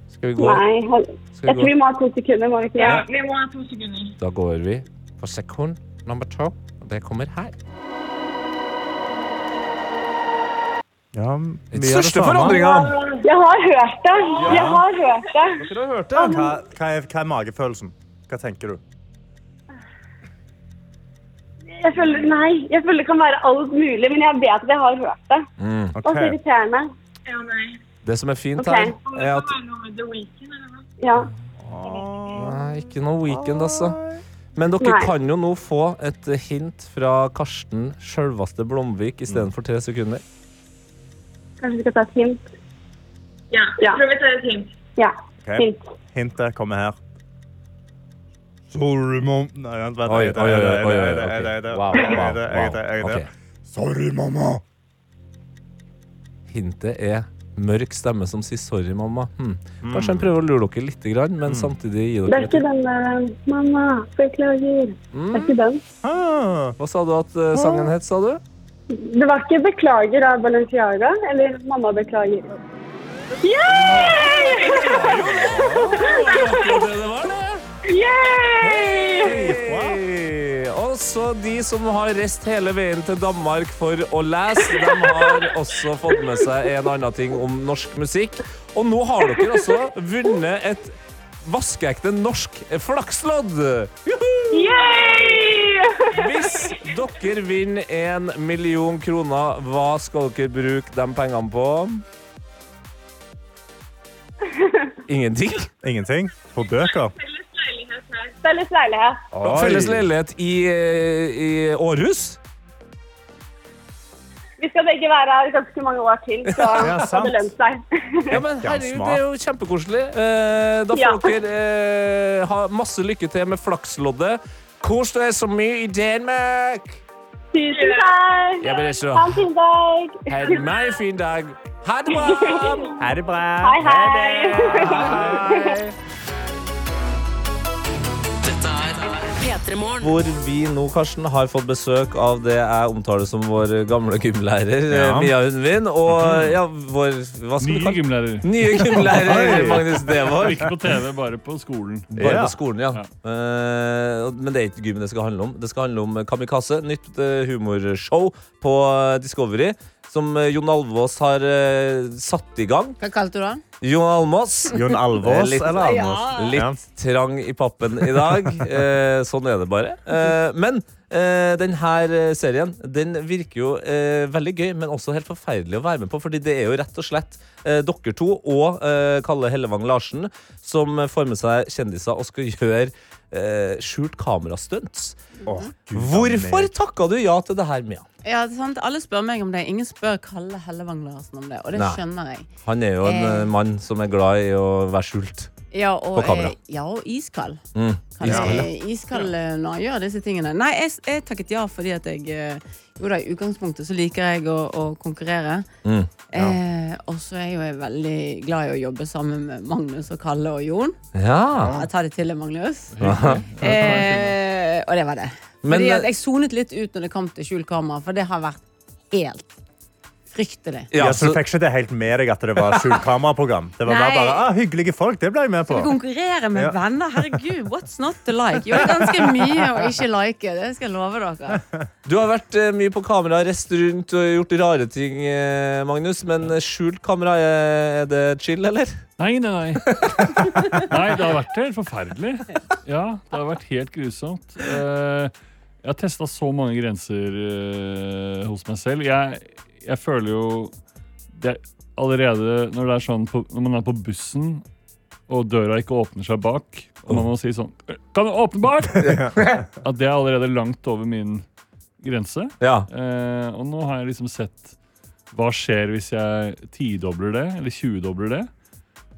Speaker 3: Skal vi gå?
Speaker 10: Nei. hold-
Speaker 3: Skal
Speaker 10: Jeg
Speaker 3: vi
Speaker 10: tror
Speaker 3: gå?
Speaker 10: vi må ha to sekunder, må vi ikke det?
Speaker 2: Vi må ha to sekunder.
Speaker 3: Da går vi på sekund nummer to, og det kommer her.
Speaker 4: Ja,
Speaker 3: Den største forandringa!
Speaker 10: Jeg har hørt det! Jeg har hørt det.
Speaker 4: Hva, hva, er, hva er magefølelsen? Hva tenker du?
Speaker 10: Jeg føler, nei, jeg føler det kan være alt mulig, men jeg vet at jeg har hørt det. Og så
Speaker 4: Ok.
Speaker 10: irriterende.
Speaker 2: Ja, nei.
Speaker 3: Det som er fint
Speaker 10: Ok.
Speaker 3: her, er at Nei,
Speaker 10: Ja.
Speaker 3: ikke noe weekend, altså. Men dere
Speaker 10: Nei.
Speaker 3: kan jo nå få et hint fra Karsten sjølveste Blomvik
Speaker 4: Mm.
Speaker 3: istedenfor tre sekunder.
Speaker 10: Kanskje vi skal ta et hint?
Speaker 2: Ja.
Speaker 10: Ja.
Speaker 2: Prøv å ta et hint.
Speaker 10: Ja.
Speaker 4: Ok.
Speaker 10: Hint.
Speaker 4: Hintet kommer her. Sorry, mom. Nei, vent, vent.
Speaker 3: Oi, oi, oi. oi, oi,
Speaker 4: Er
Speaker 3: oi.
Speaker 4: det- er det- er
Speaker 3: ok.
Speaker 4: det-
Speaker 3: Wow,
Speaker 4: er det-
Speaker 3: wow,
Speaker 4: er det- er det- er det-
Speaker 3: wow.
Speaker 4: er det-
Speaker 3: Ok.
Speaker 4: Sorry, mamma.
Speaker 3: Hintet er mørk stemme som sier 'sorry, mamma'. Hm.
Speaker 4: Mm.
Speaker 3: Kanskje han prøver å lure dere litt, grann, men samtidig gi
Speaker 10: Det er
Speaker 3: dere
Speaker 10: ikke
Speaker 3: et
Speaker 10: den der 'Mamma, beklager'.
Speaker 4: Mm.
Speaker 10: Det er ikke den.
Speaker 4: Ah.
Speaker 3: Hva sa du at eh, sangen het, sa du?
Speaker 10: Det var ikke 'Beklager' av Balenciaga, eller 'Mamma beklager'. Yay!
Speaker 3: Hey! Også de som har reist hele veien til Danmark for å lese, de har også fått med seg en annen ting om norsk musikk. Og nå har dere altså vunnet et vaskeekte norsk flakslodd. Juhu!
Speaker 10: Yay!
Speaker 3: Hvis dere vinner en million kroner, hva skal dere bruke de pengene på? Ingenting.
Speaker 4: Ingenting? På bøker?
Speaker 10: Felles leilighet.
Speaker 3: Felles leilighet i, eh, i Århus.
Speaker 10: Vi skal begge være her i ganske mange år til, så
Speaker 4: Ja, sant.
Speaker 10: hadde det lønt seg.
Speaker 3: Ja, men
Speaker 4: Ja,
Speaker 3: herregud,
Speaker 4: smart.
Speaker 3: det er jo kjempekoselig. Eh, da får
Speaker 10: Ja.
Speaker 3: dere eh, ha masse lykke til med flaksloddet. Kos deg så mye i Danmark!
Speaker 10: Tusen takk!
Speaker 3: Ja, men det er så-
Speaker 10: Ha en fin dag!
Speaker 3: Ha en meget fin dag. Ha det bra!
Speaker 4: Er det bra?
Speaker 10: Hei, hei!
Speaker 3: Hei. Hvor vi nå, Karsten, har fått besøk av det jeg omtaler som vår gamle gymlærer,
Speaker 11: Ja. Mhm.
Speaker 3: Mia Hundvin. Og ja, vår Hva skal du
Speaker 11: Nye
Speaker 3: kalle
Speaker 11: gymlærer.
Speaker 3: Nye gymlærer
Speaker 4: Oi.
Speaker 3: Magnus Devold.
Speaker 11: Ikke på TV, bare på skolen.
Speaker 3: Bare
Speaker 4: Ja.
Speaker 3: på skolen, ja. Eh, men det er ikke gymmen det skal handle om. Det skal handle om Kamikaze, nytt eh, humorshow på eh, Discovery. Som eh, Jon Alvås har eh, satt i gang.
Speaker 12: Hva kalte du han?
Speaker 3: Jon Almås. Eh,
Speaker 4: Jon Alvås
Speaker 3: Litt-
Speaker 4: eller Almås?
Speaker 3: Litt
Speaker 4: Ja.
Speaker 3: trang i pappen i dag. Eh, sånn er det bare. Eh, men eh, denne serien den virker jo eh, veldig gøy, men også helt forferdelig å være med på. Fordi det er jo rett og slett eh, dere to og eh, Kalle Hellevang Larsen som får med seg kjendiser og skal gjøre eh, skjult kamerastunts.
Speaker 4: Åh, Gud,
Speaker 3: Hvorfor takka du ja til det her, Mia?
Speaker 12: Ja, det er sant. Alle spør meg om det. Ingen spør Kalle Hellevang Larsen om det, og det
Speaker 3: Nei.
Speaker 12: skjønner jeg.
Speaker 3: Han er jo en
Speaker 12: Eh.
Speaker 3: eh, mann som er glad i å være skjult.
Speaker 12: Ja, og,
Speaker 3: På kamera.
Speaker 12: eh, ja, og iskald.
Speaker 3: Mm.
Speaker 12: Han
Speaker 3: Iskald, ja.
Speaker 12: er iskald eh, når han gjør disse tingene. Nei, jeg, s- jeg takket ja fordi at jeg eh, Jo da, i utgangspunktet så liker jeg å, å konkurrere.
Speaker 3: Mm.
Speaker 12: Eh, og så er jo jeg veldig glad i å jobbe sammen med Magnus og Kalle og Jon.
Speaker 3: Ja.
Speaker 12: Jeg tar det til deg, Magnus.
Speaker 3: Aha.
Speaker 12: Eh, og det var det.
Speaker 3: Men,
Speaker 12: Fordi at
Speaker 3: eh,
Speaker 12: jeg sonet litt ut når det kom til skjult kamera, for det har vært helt fryktelig.
Speaker 4: Ja,
Speaker 3: Ja,
Speaker 4: så
Speaker 3: så-
Speaker 4: du fikk ikke det helt med deg at det var skjult kameraprogram? Det var
Speaker 12: Nei.
Speaker 4: bare, bare ah, hyggelige folk, det ble jeg med på.
Speaker 12: Skal vi konkurrere med
Speaker 4: Ja.
Speaker 12: venner? Herregud, what's not to like? Jo, det er ganske mye å ikke like. Det skal jeg love dere.
Speaker 3: Du har vært eh, mye på kamera, reist rundt og gjort rare ting, eh, Magnus. Men eh, skjult kamera, eh, er det chill, eller?
Speaker 11: Nei, nei, nei. Nei, det har vært helt forferdelig. Ja, det har vært helt grusomt. Eh, jeg har testa så mange grenser eh, hos meg selv. Jeg, jeg føler jo det er Allerede når det er sånn på, når man er på bussen, og døra ikke åpner seg bak, og man må si sånn Kan du åpne bak?! At det er allerede langt over min grense.
Speaker 3: Ja.
Speaker 11: Eh, og nå har jeg liksom sett hva skjer hvis jeg tidobler det, eller 20-dobler det.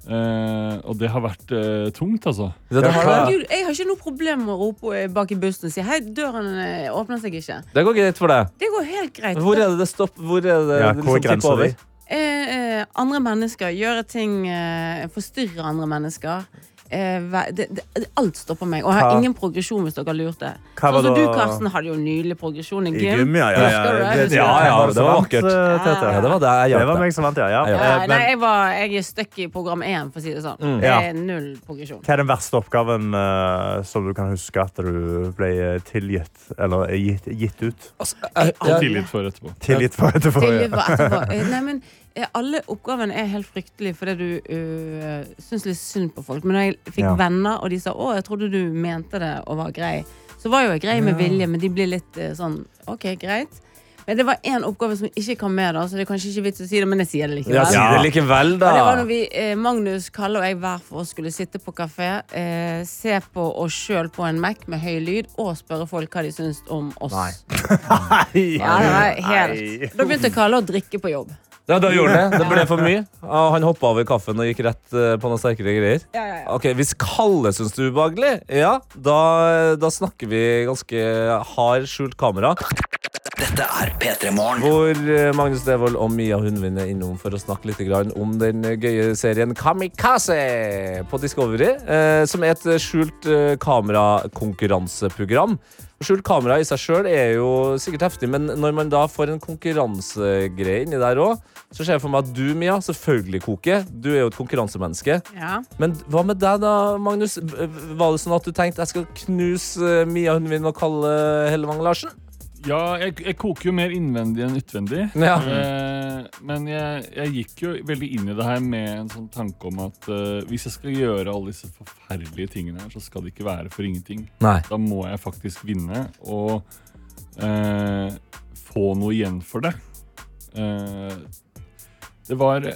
Speaker 11: Eh, og det har vært eh, tungt, altså.
Speaker 3: Det, det, har det.
Speaker 12: Herregud, jeg har ikke noe problem med å rope bak i bussen og si hei, døren eh, åpner seg ikke.
Speaker 3: det går greit for deg.
Speaker 12: Det går helt greit.
Speaker 3: Hvor er det det stopper? Hvor er det
Speaker 4: Ja,
Speaker 3: det
Speaker 4: hvor er
Speaker 3: liksom tipper
Speaker 4: grensa di?
Speaker 3: over?
Speaker 12: Eh, eh, andre mennesker gjøre ting eh, Forstyrre andre mennesker. Eh, væ- det, det, det- alt stopper meg. Og jeg har
Speaker 4: Hva-
Speaker 12: ingen progresjon, hvis dere har lurt det.
Speaker 4: Hva var
Speaker 12: Sånn som du,
Speaker 4: da-
Speaker 12: Karsten, hadde jo nylig progresjon i
Speaker 4: I
Speaker 12: gym.
Speaker 4: gym, ja. Ja, ja,
Speaker 12: Husker du
Speaker 4: ja,
Speaker 12: det?
Speaker 4: det,
Speaker 3: Ja, ja,
Speaker 4: det var
Speaker 3: det
Speaker 4: vakkert.
Speaker 3: var
Speaker 4: Tete.
Speaker 3: Ja, det var det jeg
Speaker 4: Det var
Speaker 3: hjalp deg.
Speaker 4: meg som vant, ja. ja.
Speaker 12: Ja,
Speaker 4: Eh,
Speaker 12: nei,
Speaker 4: Men
Speaker 12: jeg, var, jeg er stuck i program 1, for å si det sånn. Det
Speaker 4: Ja.
Speaker 12: er
Speaker 3: Mm.
Speaker 12: null progresjon.
Speaker 4: hva er den verste oppgaven eh, som du kan huske at du ble eh, tilgitt? Eller eh, gitt, gitt ut?
Speaker 3: Altså, jeg-
Speaker 11: Og
Speaker 3: jeg-
Speaker 11: tillit for etterpå.
Speaker 4: Tilgitt for etterpå.
Speaker 12: Til
Speaker 4: Ja.
Speaker 12: livet etterpå. Eh, Nei, men eh, Alle oppgavene er helt fryktelige fordi du øh, syns litt synd på folk. Men når jeg fikk
Speaker 4: Ja.
Speaker 12: venner, og de sa 'Å, jeg trodde du mente det og var grei', så var jo jeg grei med vilje, men de blir litt eh, sånn OK, greit. Men det var én oppgave som ikke kom med, da, så det er kanskje ikke vits å si det, men jeg sier det likevel.
Speaker 3: Ja, si det likevel, da.
Speaker 12: Og det var når vi, eh, Magnus, Kalle og jeg hver for oss skulle sitte på kafé, eh, se på oss sjøl på en Mac med høy lyd og spørre folk hva de syns om oss.
Speaker 3: Nei.
Speaker 12: Ja, det var helt. Da begynte Kalle å drikke på jobb.
Speaker 3: Ja, da gjorde han det. Det ble for mye. Og han hoppa over kaffen og gikk rett eh, på noen sterkere greier.
Speaker 12: Ja, ja, ja.
Speaker 3: Ok, Hvis Kalle syns det er ubehagelig, ja, da, da snakker vi ganske hard skjult kamera.
Speaker 1: Dette er P3 Morgen.
Speaker 3: Hvor eh, Magnus Devold og Mia Hundvin er innom for å snakke litt grann om den gøye serien Kamikaze på Discovery, eh, som er et skjult eh, kamerakonkurranseprogram. Skjult kamera i seg sjøl er jo sikkert heftig, men når man da får en konkurransegreie inni der òg, så ser jeg for meg at du, Mia, selvfølgelig koker. Du er jo et konkurransemenneske.
Speaker 12: Ja.
Speaker 3: Men hva med deg, da, Magnus? B- Var det sånn at du tenkte jeg skal knuse eh, Mia Hundvin og Kalle Hellevang Larsen?
Speaker 11: Ja, jeg, jeg koker jo mer innvendig enn utvendig.
Speaker 3: Ja.
Speaker 11: Eh, men jeg, jeg gikk jo veldig inn i det her med en sånn tanke om at eh, hvis jeg skal gjøre alle disse forferdelige tingene her, så skal det ikke være for ingenting.
Speaker 3: Nei.
Speaker 11: Da må jeg faktisk vinne og eh, få noe igjen for det. Eh, det var Det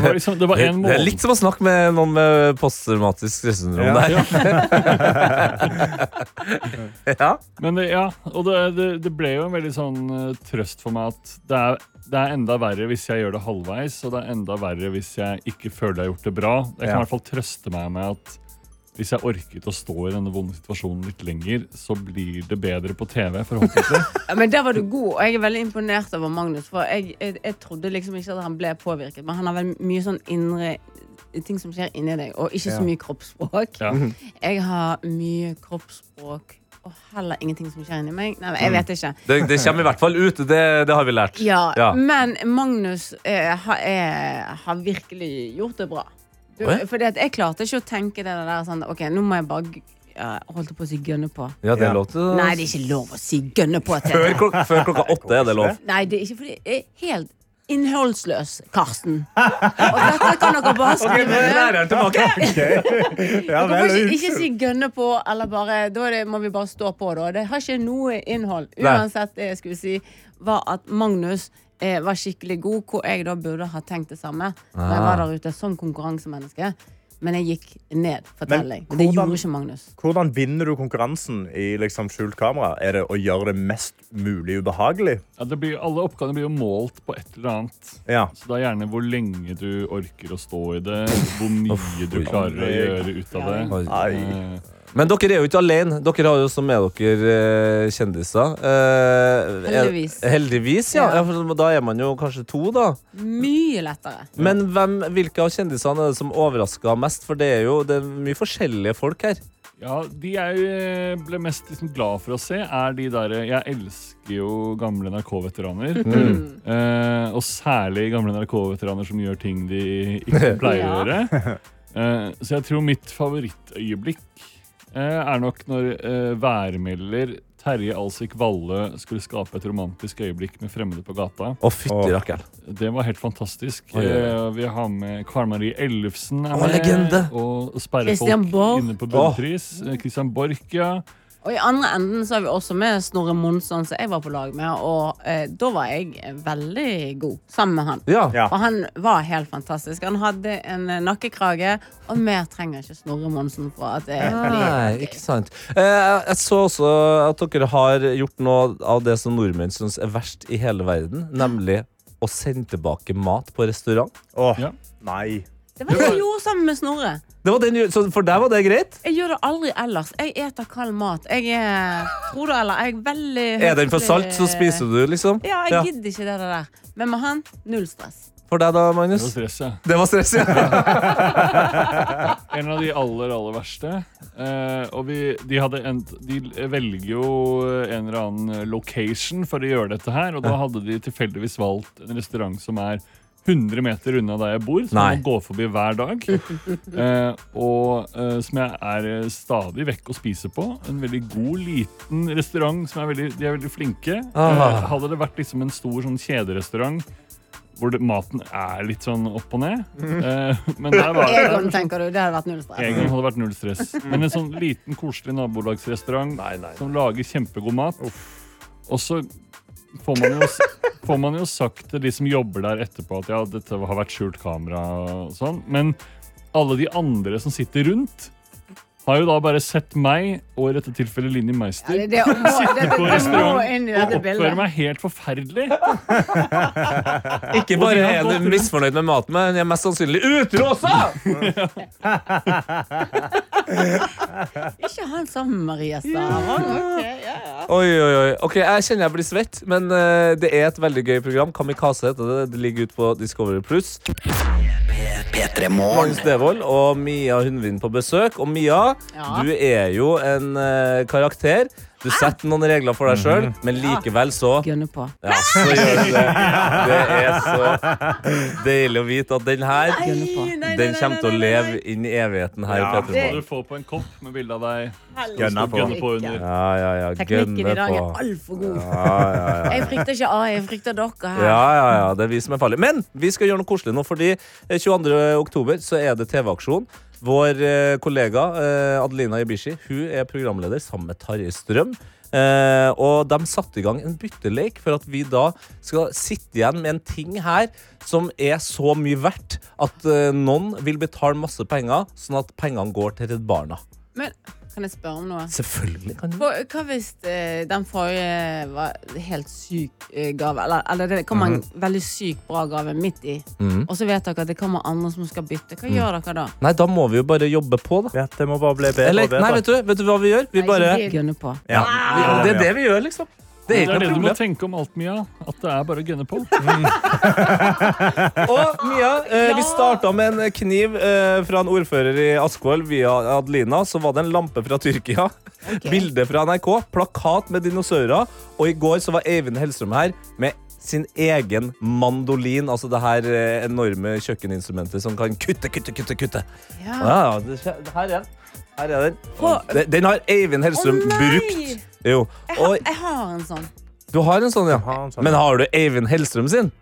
Speaker 11: var liksom Det var
Speaker 3: Det,
Speaker 11: en
Speaker 3: det er
Speaker 11: måned
Speaker 3: litt som å snakke med noen med posttraumatisk stressyndrom
Speaker 4: Ja.
Speaker 3: der.
Speaker 11: Men det, ja, og det, det, det ble jo en veldig sånn eh, trøst for meg at det er, det er enda verre hvis jeg gjør det halvveis, og det er enda verre hvis jeg ikke føler jeg har gjort det bra. Jeg kan
Speaker 4: Ja.
Speaker 11: i hvert fall trøste meg med at Hvis jeg orket å stå i denne vonde situasjonen litt lenger, så blir det bedre på TV, forhåpentlig.
Speaker 12: Ja, men der var du god, og jeg er veldig imponert over Magnus. For jeg, jeg, jeg trodde liksom ikke at han ble påvirket, men han har vel mye sånn indre ting som skjer inni deg, og ikke
Speaker 11: Ja.
Speaker 12: så mye kroppsspråk.
Speaker 11: Ja.
Speaker 12: Jeg har mye kroppsspråk og heller ingenting som skjer inni meg. Nei,
Speaker 11: Mm.
Speaker 12: jeg vet ikke.
Speaker 3: Det, det kommer i hvert fall ut. Det, det har vi lært.
Speaker 12: Ja, men Magnus eh, har, er, har virkelig gjort det bra. Du,
Speaker 3: Å, ja?
Speaker 12: Fordi at jeg klarte ikke å tenke det der sånn OK, nå må jeg bare g- ja, Holdt på å si gønne på.
Speaker 3: Ja, det er lov til å-
Speaker 12: Nei, det er ikke lov å si gønne på. til
Speaker 3: Før,
Speaker 12: det.
Speaker 3: klok før klokka åtte er det lov.
Speaker 12: Nei, det er ikke fordi jeg er helt innholdsløs, Karsten. Og dette kan dere bare skrive ned.
Speaker 4: Ja,
Speaker 12: Dere får ikke, ikke
Speaker 4: unnskyld.
Speaker 12: si 'gønne på' eller bare Da er det, må vi bare stå på, da. Det har ikke noe innhold.
Speaker 4: Nei.
Speaker 12: Uansett det jeg skulle si, var at Magnus eh, var skikkelig god, hvor jeg da burde ha tenkt det samme. Når jeg
Speaker 4: Ah.
Speaker 12: var der ute som konkurransemenneske. Men jeg gikk ned,
Speaker 4: Men
Speaker 12: forteller jeg. Men det
Speaker 4: hvordan-
Speaker 12: gjorde ikke Magnus.
Speaker 4: Hvordan vinner du konkurransen i liksom, skjult kamera? Er det å gjøre det mest mulig ubehagelig?
Speaker 11: Ja, det blir, alle oppgavene blir jo målt på et eller annet. Så det er gjerne hvor lenge du orker å stå i det, hvor mye du klarer å gjøre ut av det. Eh,
Speaker 3: Men dere er jo ikke alene. Dere har jo også med dere eh, kjendiser. Eh, er-
Speaker 12: Heldigvis.
Speaker 3: Heldigvis, ja. ja.
Speaker 12: Ja.
Speaker 3: for Da er man jo kanskje to, da.
Speaker 12: Mye lettere.
Speaker 3: Men hvem, hvilke av kjendisene er det som overrasker mest? For det er jo det er mye forskjellige folk her.
Speaker 11: Ja, De jeg eh, ble mest liksom glad for å se, er de derre Jeg elsker jo gamle NRK-veteraner.
Speaker 12: Mm.
Speaker 8: Mhm.
Speaker 11: Mm. Eh, og særlig gamle NRK-veteraner som gjør ting de ikke pleier å
Speaker 8: Ja.
Speaker 11: gjøre. Eh, så jeg tror mitt favorittøyeblikk eh, er nok når eh, værmelder Terje Alsik Valle skulle skape et romantisk øyeblikk med fremmede på gata.
Speaker 3: Å, fytti rakkeren.
Speaker 11: Det var helt fantastisk.
Speaker 3: Oi, oi, oi.
Speaker 11: Eh, vi har med Karen Marie Ellefsen. er
Speaker 3: Å,
Speaker 11: med,
Speaker 3: legende.
Speaker 11: Og sperrefolk
Speaker 12: Christian Borch.
Speaker 11: inne på Bunnpris. Eh, Christian Borch, ja.
Speaker 12: Og i andre enden så har vi også med Snorre Monsson, som jeg var på lag med. Og eh, da var jeg eh, veldig god sammen med han.
Speaker 3: Ja. Ja.
Speaker 12: Og han var helt fantastisk. Han hadde en eh, nakkekrage, og mer trenger ikke Snorre Monsen for at det blir
Speaker 3: Nei, ikke sant. Eh, jeg så også at dere har gjort noe av det som nordmenn syns er verst i hele verden, nemlig å sende tilbake mat på restaurant.
Speaker 4: Åh,
Speaker 3: nei.
Speaker 12: Det var det jeg gjorde sammen med Snorre.
Speaker 3: Det var den, ju- så for deg var det greit?
Speaker 12: Jeg gjør det aldri ellers. Jeg eter kald mat. Jeg er Tror du eller? Jeg er veldig
Speaker 3: Er den for salt, så spiser du, liksom?
Speaker 12: Ja, jeg
Speaker 3: Ja.
Speaker 12: gidder ikke det der. Men med han, null stress.
Speaker 3: For deg da, Magnus?
Speaker 11: Det var stress, ja.
Speaker 3: Det var stress, ja.
Speaker 11: En av de aller, aller verste. Eh, og vi, de, hadde en, de velger jo en eller annen location for å gjøre dette her. Og da hadde de tilfeldigvis valgt en restaurant som er 100 meter unna der jeg bor. Som
Speaker 3: Nei.
Speaker 11: man går forbi hver dag. Eh, og eh, som jeg er eh, stadig vekk og spiser på. En veldig god, liten restaurant. Som er veldig, de er veldig flinke.
Speaker 3: Ah.
Speaker 11: Eh, hadde det vært liksom en stor sånn kjederestaurant hvor det, maten er litt sånn opp og ned. Eh, men der var det
Speaker 12: Egon, tenker du. Det hadde vært null stress.
Speaker 11: en gang hadde det vært null stress. Men en sånn liten, koselig nabolagsrestaurant som lager kjempegod mat. Og så får man, jo, s- får man jo sagt til de som jobber der etterpå, at ja, dette har vært skjult kamera og sånn. Men alle de andre som sitter rundt, har jo da bare sett meg, og i dette tilfellet Linni Meister,
Speaker 12: Ja, det- det må- det- det-
Speaker 11: sitte
Speaker 12: det
Speaker 11: på
Speaker 12: må inn
Speaker 11: restaurant
Speaker 12: i
Speaker 11: og
Speaker 12: dette bildet.
Speaker 11: oppføre meg helt forferdelig.
Speaker 3: Ikke bare er du misfornøyd med maten, men jeg er mest sannsynlig utrosa!
Speaker 12: Ikke han sammen med Maria Stavang. ok, ja, ja.
Speaker 3: Oi, oi, oi. Ok, Jeg kjenner jeg blir svett, men eh, det er et veldig gøy program. Kamikaze heter det. Det ligger ute på Discovery Pluss. Magnus Devold og Mia Hundvin på besøk. Og Mia,
Speaker 8: Ja.
Speaker 3: du er jo en eh, karakter. Du
Speaker 11: Ah.
Speaker 3: setter noen regler for deg sjøl, men likevel så
Speaker 12: Gunner på.
Speaker 3: Ja, så gjør du det. Det er så deilig å vite at den her,
Speaker 11: nei,
Speaker 3: den kommer til å leve inn i evigheten her i
Speaker 11: Ja,
Speaker 3: Petter
Speaker 11: det
Speaker 3: Morgen.
Speaker 11: må du få på en kopp med bilde av deg.
Speaker 12: Helvete.
Speaker 11: Gønne på.
Speaker 3: Gønne på
Speaker 11: under.
Speaker 3: Ja, ja, ja.
Speaker 12: Teknikken i
Speaker 3: gønne
Speaker 12: dag
Speaker 3: på.
Speaker 12: er altfor god.
Speaker 3: Ja, ja, ja.
Speaker 12: Jeg frykter ikke AI, jeg frykter dere her.
Speaker 3: Ja, ja, ja, det er vi som er farlige. Men vi skal gjøre noe koselig nå, fordi eh, 22. oktober så er det TV-aksjon. Vår eh, kollega eh, Adelina Ibishi hun er programleder sammen med Tarjei Strøm. Eh, og de satte i gang en byttelek for at vi da skal sitte igjen med en ting her som er så mye verdt at eh, noen vil betale masse penger, sånn at pengene går til Redd Barna.
Speaker 12: Men Kan jeg spørre om noe?
Speaker 13: Selvfølgelig.
Speaker 12: For, hva hvis eh, den forrige var helt syk eh, gave? Eller, eller det kommer en
Speaker 13: Mhm.
Speaker 12: veldig syk bra gave midt i,
Speaker 13: Mhm.
Speaker 12: og så vet dere at det kommer andre som skal bytte. Hva
Speaker 13: Mm.
Speaker 12: gjør dere da?
Speaker 13: Nei, da må vi jo bare jobbe på, da.
Speaker 4: Ja, det må bare bli bedre
Speaker 13: Eller,
Speaker 4: og bedre.
Speaker 13: Nei, vet du, vet du hva vi gjør? Vi bare
Speaker 12: ikke gønne på.
Speaker 13: Ja. Vi- Det er det vi gjør, liksom. Det er
Speaker 11: Det
Speaker 13: ikke
Speaker 11: er
Speaker 13: noe
Speaker 11: det du må
Speaker 13: problem.
Speaker 11: tenke om alt, Mia. At det er bare å gønne på.
Speaker 3: Og Mia, eh, vi starta med en kniv eh, fra en ordfører i Askvoll via Adelina. Så var det en lampe fra Tyrkia. Bilde fra NRK, plakat med dinosaurer. Og i går så var Eivind Hellstrøm her med sin egen mandolin. Altså det her eh, enorme kjøkkeninstrumentet som kan kutte, kutte, kutte. kutte.
Speaker 12: Ja.
Speaker 3: Ja, det, skje- her er den. Her er den. Og de- Den har Eivind Hellstrøm
Speaker 12: Å, nei!
Speaker 3: brukt. Jo.
Speaker 12: Jeg har,
Speaker 3: Og
Speaker 12: jeg har en sånn.
Speaker 3: du har en sånn, ja. Men har du Eivind Hellstrøm sin?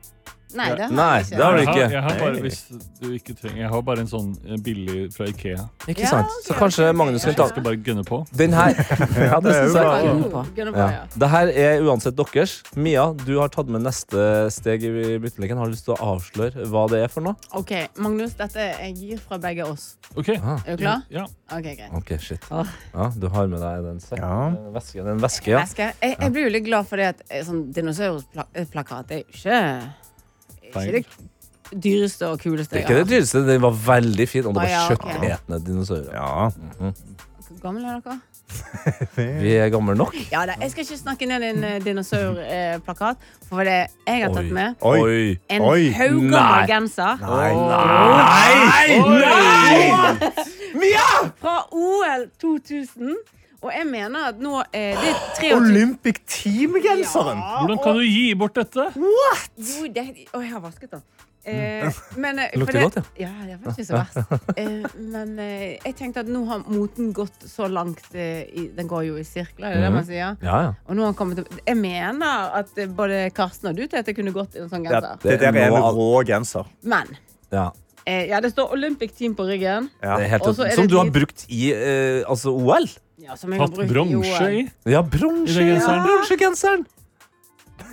Speaker 12: Nei, det har
Speaker 3: Nei,
Speaker 12: jeg Ah, ikke.
Speaker 3: det har du
Speaker 11: Jeg
Speaker 3: ikke.
Speaker 11: har, jeg har bare, hvis du ikke trenger, jeg har bare en sånn eh, billig fra Ikea.
Speaker 3: Ikke sant? Så kanskje Magnus kan ta
Speaker 11: Jeg skal bare gønne på.
Speaker 3: Den her ja, det synes jeg var-
Speaker 11: Gønne på. Gønne på, ja.
Speaker 3: Ja. Det her er uansett deres. Mia, du har tatt med neste steg i bytteleken. Har du lyst til å avsløre hva det er for noe?
Speaker 12: Ok, Magnus, dette jeg gir fra begge oss. Er du klar? Ok, greit.
Speaker 3: Ok, shit.
Speaker 12: Åh.
Speaker 3: Ja, du har med deg den sekk. Den væske, den væske, ja.
Speaker 12: Væske. Jeg, jeg blir jo litt glad for det at eh, sånn dinosaurplakat er jo ikke, ikke det dyreste og kuleste.
Speaker 3: Det er
Speaker 12: jeg
Speaker 3: ikke det
Speaker 12: har.
Speaker 3: dyreste, den var veldig fin, og det
Speaker 12: Å,
Speaker 3: var
Speaker 12: ja, ok.
Speaker 3: kjøttetende dinosaurer. Mhm.
Speaker 12: Hvor gamle er dere?
Speaker 3: Vi er gamle nok.
Speaker 12: Ja, da, jeg skal ikke snakke ned en eh, dinosaurplakat, for det jeg har tatt med
Speaker 3: Oi.
Speaker 12: En
Speaker 3: Oi. Nei.
Speaker 12: haugammel genser.
Speaker 3: Nei, nei,
Speaker 12: Oi.
Speaker 3: nei!
Speaker 12: Fra OL 2000. Og jeg mener at nå eh, Det er 23
Speaker 4: Olympic Team-genseren!
Speaker 11: Hvordan kan du gi bort dette?
Speaker 12: What?! Jo, det, å, jeg har vasket den. Eh, men, eh, for
Speaker 11: Lukter
Speaker 12: det-
Speaker 11: godt, ja.
Speaker 12: ja. Det var ikke så verst. Eh, men eh, jeg tenkte at nå har moten gått så langt eh, i, Den går jo i sirkler, er det det man sier?
Speaker 3: Ja, ja.
Speaker 12: Og nå har han kommet til- Jeg mener at eh, både Karsten og du Tete kunne gått i en sånn
Speaker 4: Ja,
Speaker 12: genser.
Speaker 4: det der er en rå genser.
Speaker 12: Men
Speaker 3: Ja.
Speaker 12: eh, ja, det står Olympic Team på ryggen.
Speaker 3: Det er helt,
Speaker 12: Og så er
Speaker 3: som
Speaker 12: det
Speaker 3: du har
Speaker 12: hvit-
Speaker 3: brukt i eh, altså OL.
Speaker 12: Ja, som jeg har brukt eh, i OL.
Speaker 3: Ja, bronse i
Speaker 11: genseren.
Speaker 3: bronsegenseren.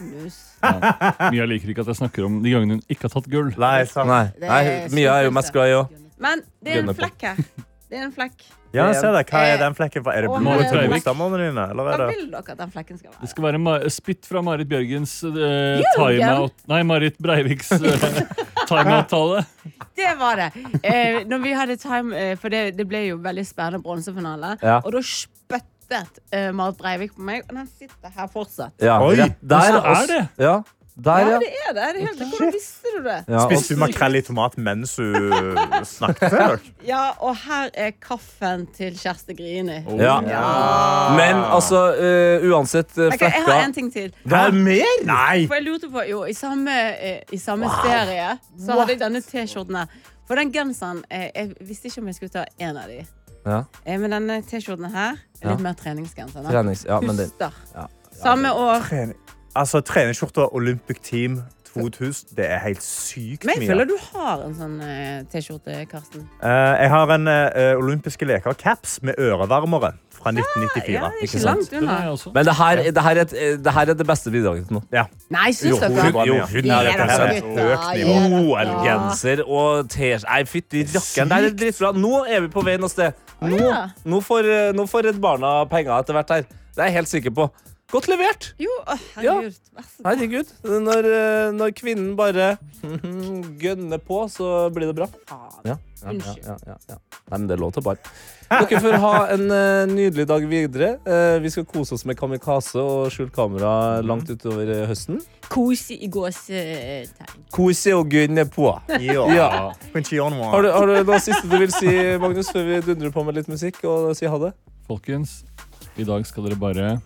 Speaker 11: Mia liker ikke at jeg snakker om de gangene hun ikke har tatt gull.
Speaker 4: Nei,
Speaker 3: Nei.
Speaker 12: Det er Nei, Mia
Speaker 3: er jo mest glad i å
Speaker 12: Men det er en
Speaker 11: Gønner på.
Speaker 12: flekk her. Det er en flekk.
Speaker 4: Ja, se der. Hva er
Speaker 12: Eh,
Speaker 4: den flekken for? Er det
Speaker 12: Å,
Speaker 4: blodet til
Speaker 11: herregud.
Speaker 4: motstanderne dine? Eller er
Speaker 12: Hva
Speaker 4: det?
Speaker 12: vil dere at den flekken skal være?
Speaker 11: Det skal være ma spytt fra Marit Bjørgens eh,
Speaker 12: Jørgen!
Speaker 11: timeout Nei, Marit Breiviks eh, timeout-tale.
Speaker 12: Det var det. Eh, når vi hadde time, eh, for det, det ble jo veldig spennende bronsefinale,
Speaker 3: Ja.
Speaker 12: og da spyttet eh, Marit Breivik på meg, og den sitter her fortsatt.
Speaker 3: Ja,
Speaker 4: Oi,
Speaker 3: rett der,
Speaker 4: hvordan
Speaker 3: ass.
Speaker 4: er det?
Speaker 3: Ja, der,
Speaker 12: Ja,
Speaker 3: ja.
Speaker 12: det er det. Er det helt, hvordan visste du det?
Speaker 3: Ja,
Speaker 4: Spiste
Speaker 3: og-
Speaker 4: du makrell i tomat mens du snakket? eller?
Speaker 12: Ja, og her er kaffen til Kjersti Grini.
Speaker 3: Ja. Men altså, eh, uansett eh,
Speaker 12: Ok, jeg har en
Speaker 3: flekka
Speaker 12: ting til.
Speaker 3: Det er mer!
Speaker 12: For jeg lurte på, jo, I samme, eh, i samme serie så hadde jeg denne T-skjorten her. For den genseren eh, Jeg visste ikke om jeg skulle ta en av de.
Speaker 3: Ja.
Speaker 12: Eh, men denne T-skjorten her er
Speaker 3: Ja.
Speaker 12: litt mer treningsgenser. da.
Speaker 3: Trenings, ja, men det-
Speaker 12: Puster. Samme år.
Speaker 4: Trening. Altså, treningsskjorta Olympic Team 2000, det er helt sykt
Speaker 12: Men jeg
Speaker 4: mye.
Speaker 12: føler du har en sånn eh, T-skjorte, Karsten.
Speaker 4: Eh, jeg har en eh, olympiske leker-caps med ørevarmere fra 1994.
Speaker 12: ja, det er ikke
Speaker 4: Ikke sant?
Speaker 12: langt unna. Den er jeg også.
Speaker 3: Men det her, det, her er, et- eh, det her er det beste bidraget til nå.
Speaker 4: Ja.
Speaker 12: Nei, syns dere?
Speaker 3: Jo, hun er rett og slett
Speaker 12: Ah.
Speaker 3: OL-genser og T-skjorte Nei, fytti rakkeren, det her er dritbra. Nå er vi på vei noe sted. Nå, nå, får, eh, nå får Redd Barna penger etter hvert her. Det er jeg helt sikker på. Godt levert!
Speaker 12: Jo, å, herregud. Vær så god.
Speaker 3: Herregud. Når, eh, når kvinnen bare gønner på, så blir det bra. Ja, ja, ja, ja, ja, ja. Nei, men det er lov til å bare. Dere får ha en eh, nydelig dag videre. Eh, vi skal kose oss med kamikaze og skjult kamera langt utover eh, høsten.
Speaker 12: Kos i gåsetegn.
Speaker 3: Kose og gønne på. Ja. Har du, har du noe siste du vil si, Magnus, før vi dundrer på med litt musikk og si ha det?
Speaker 11: Folkens, i dag skal dere bare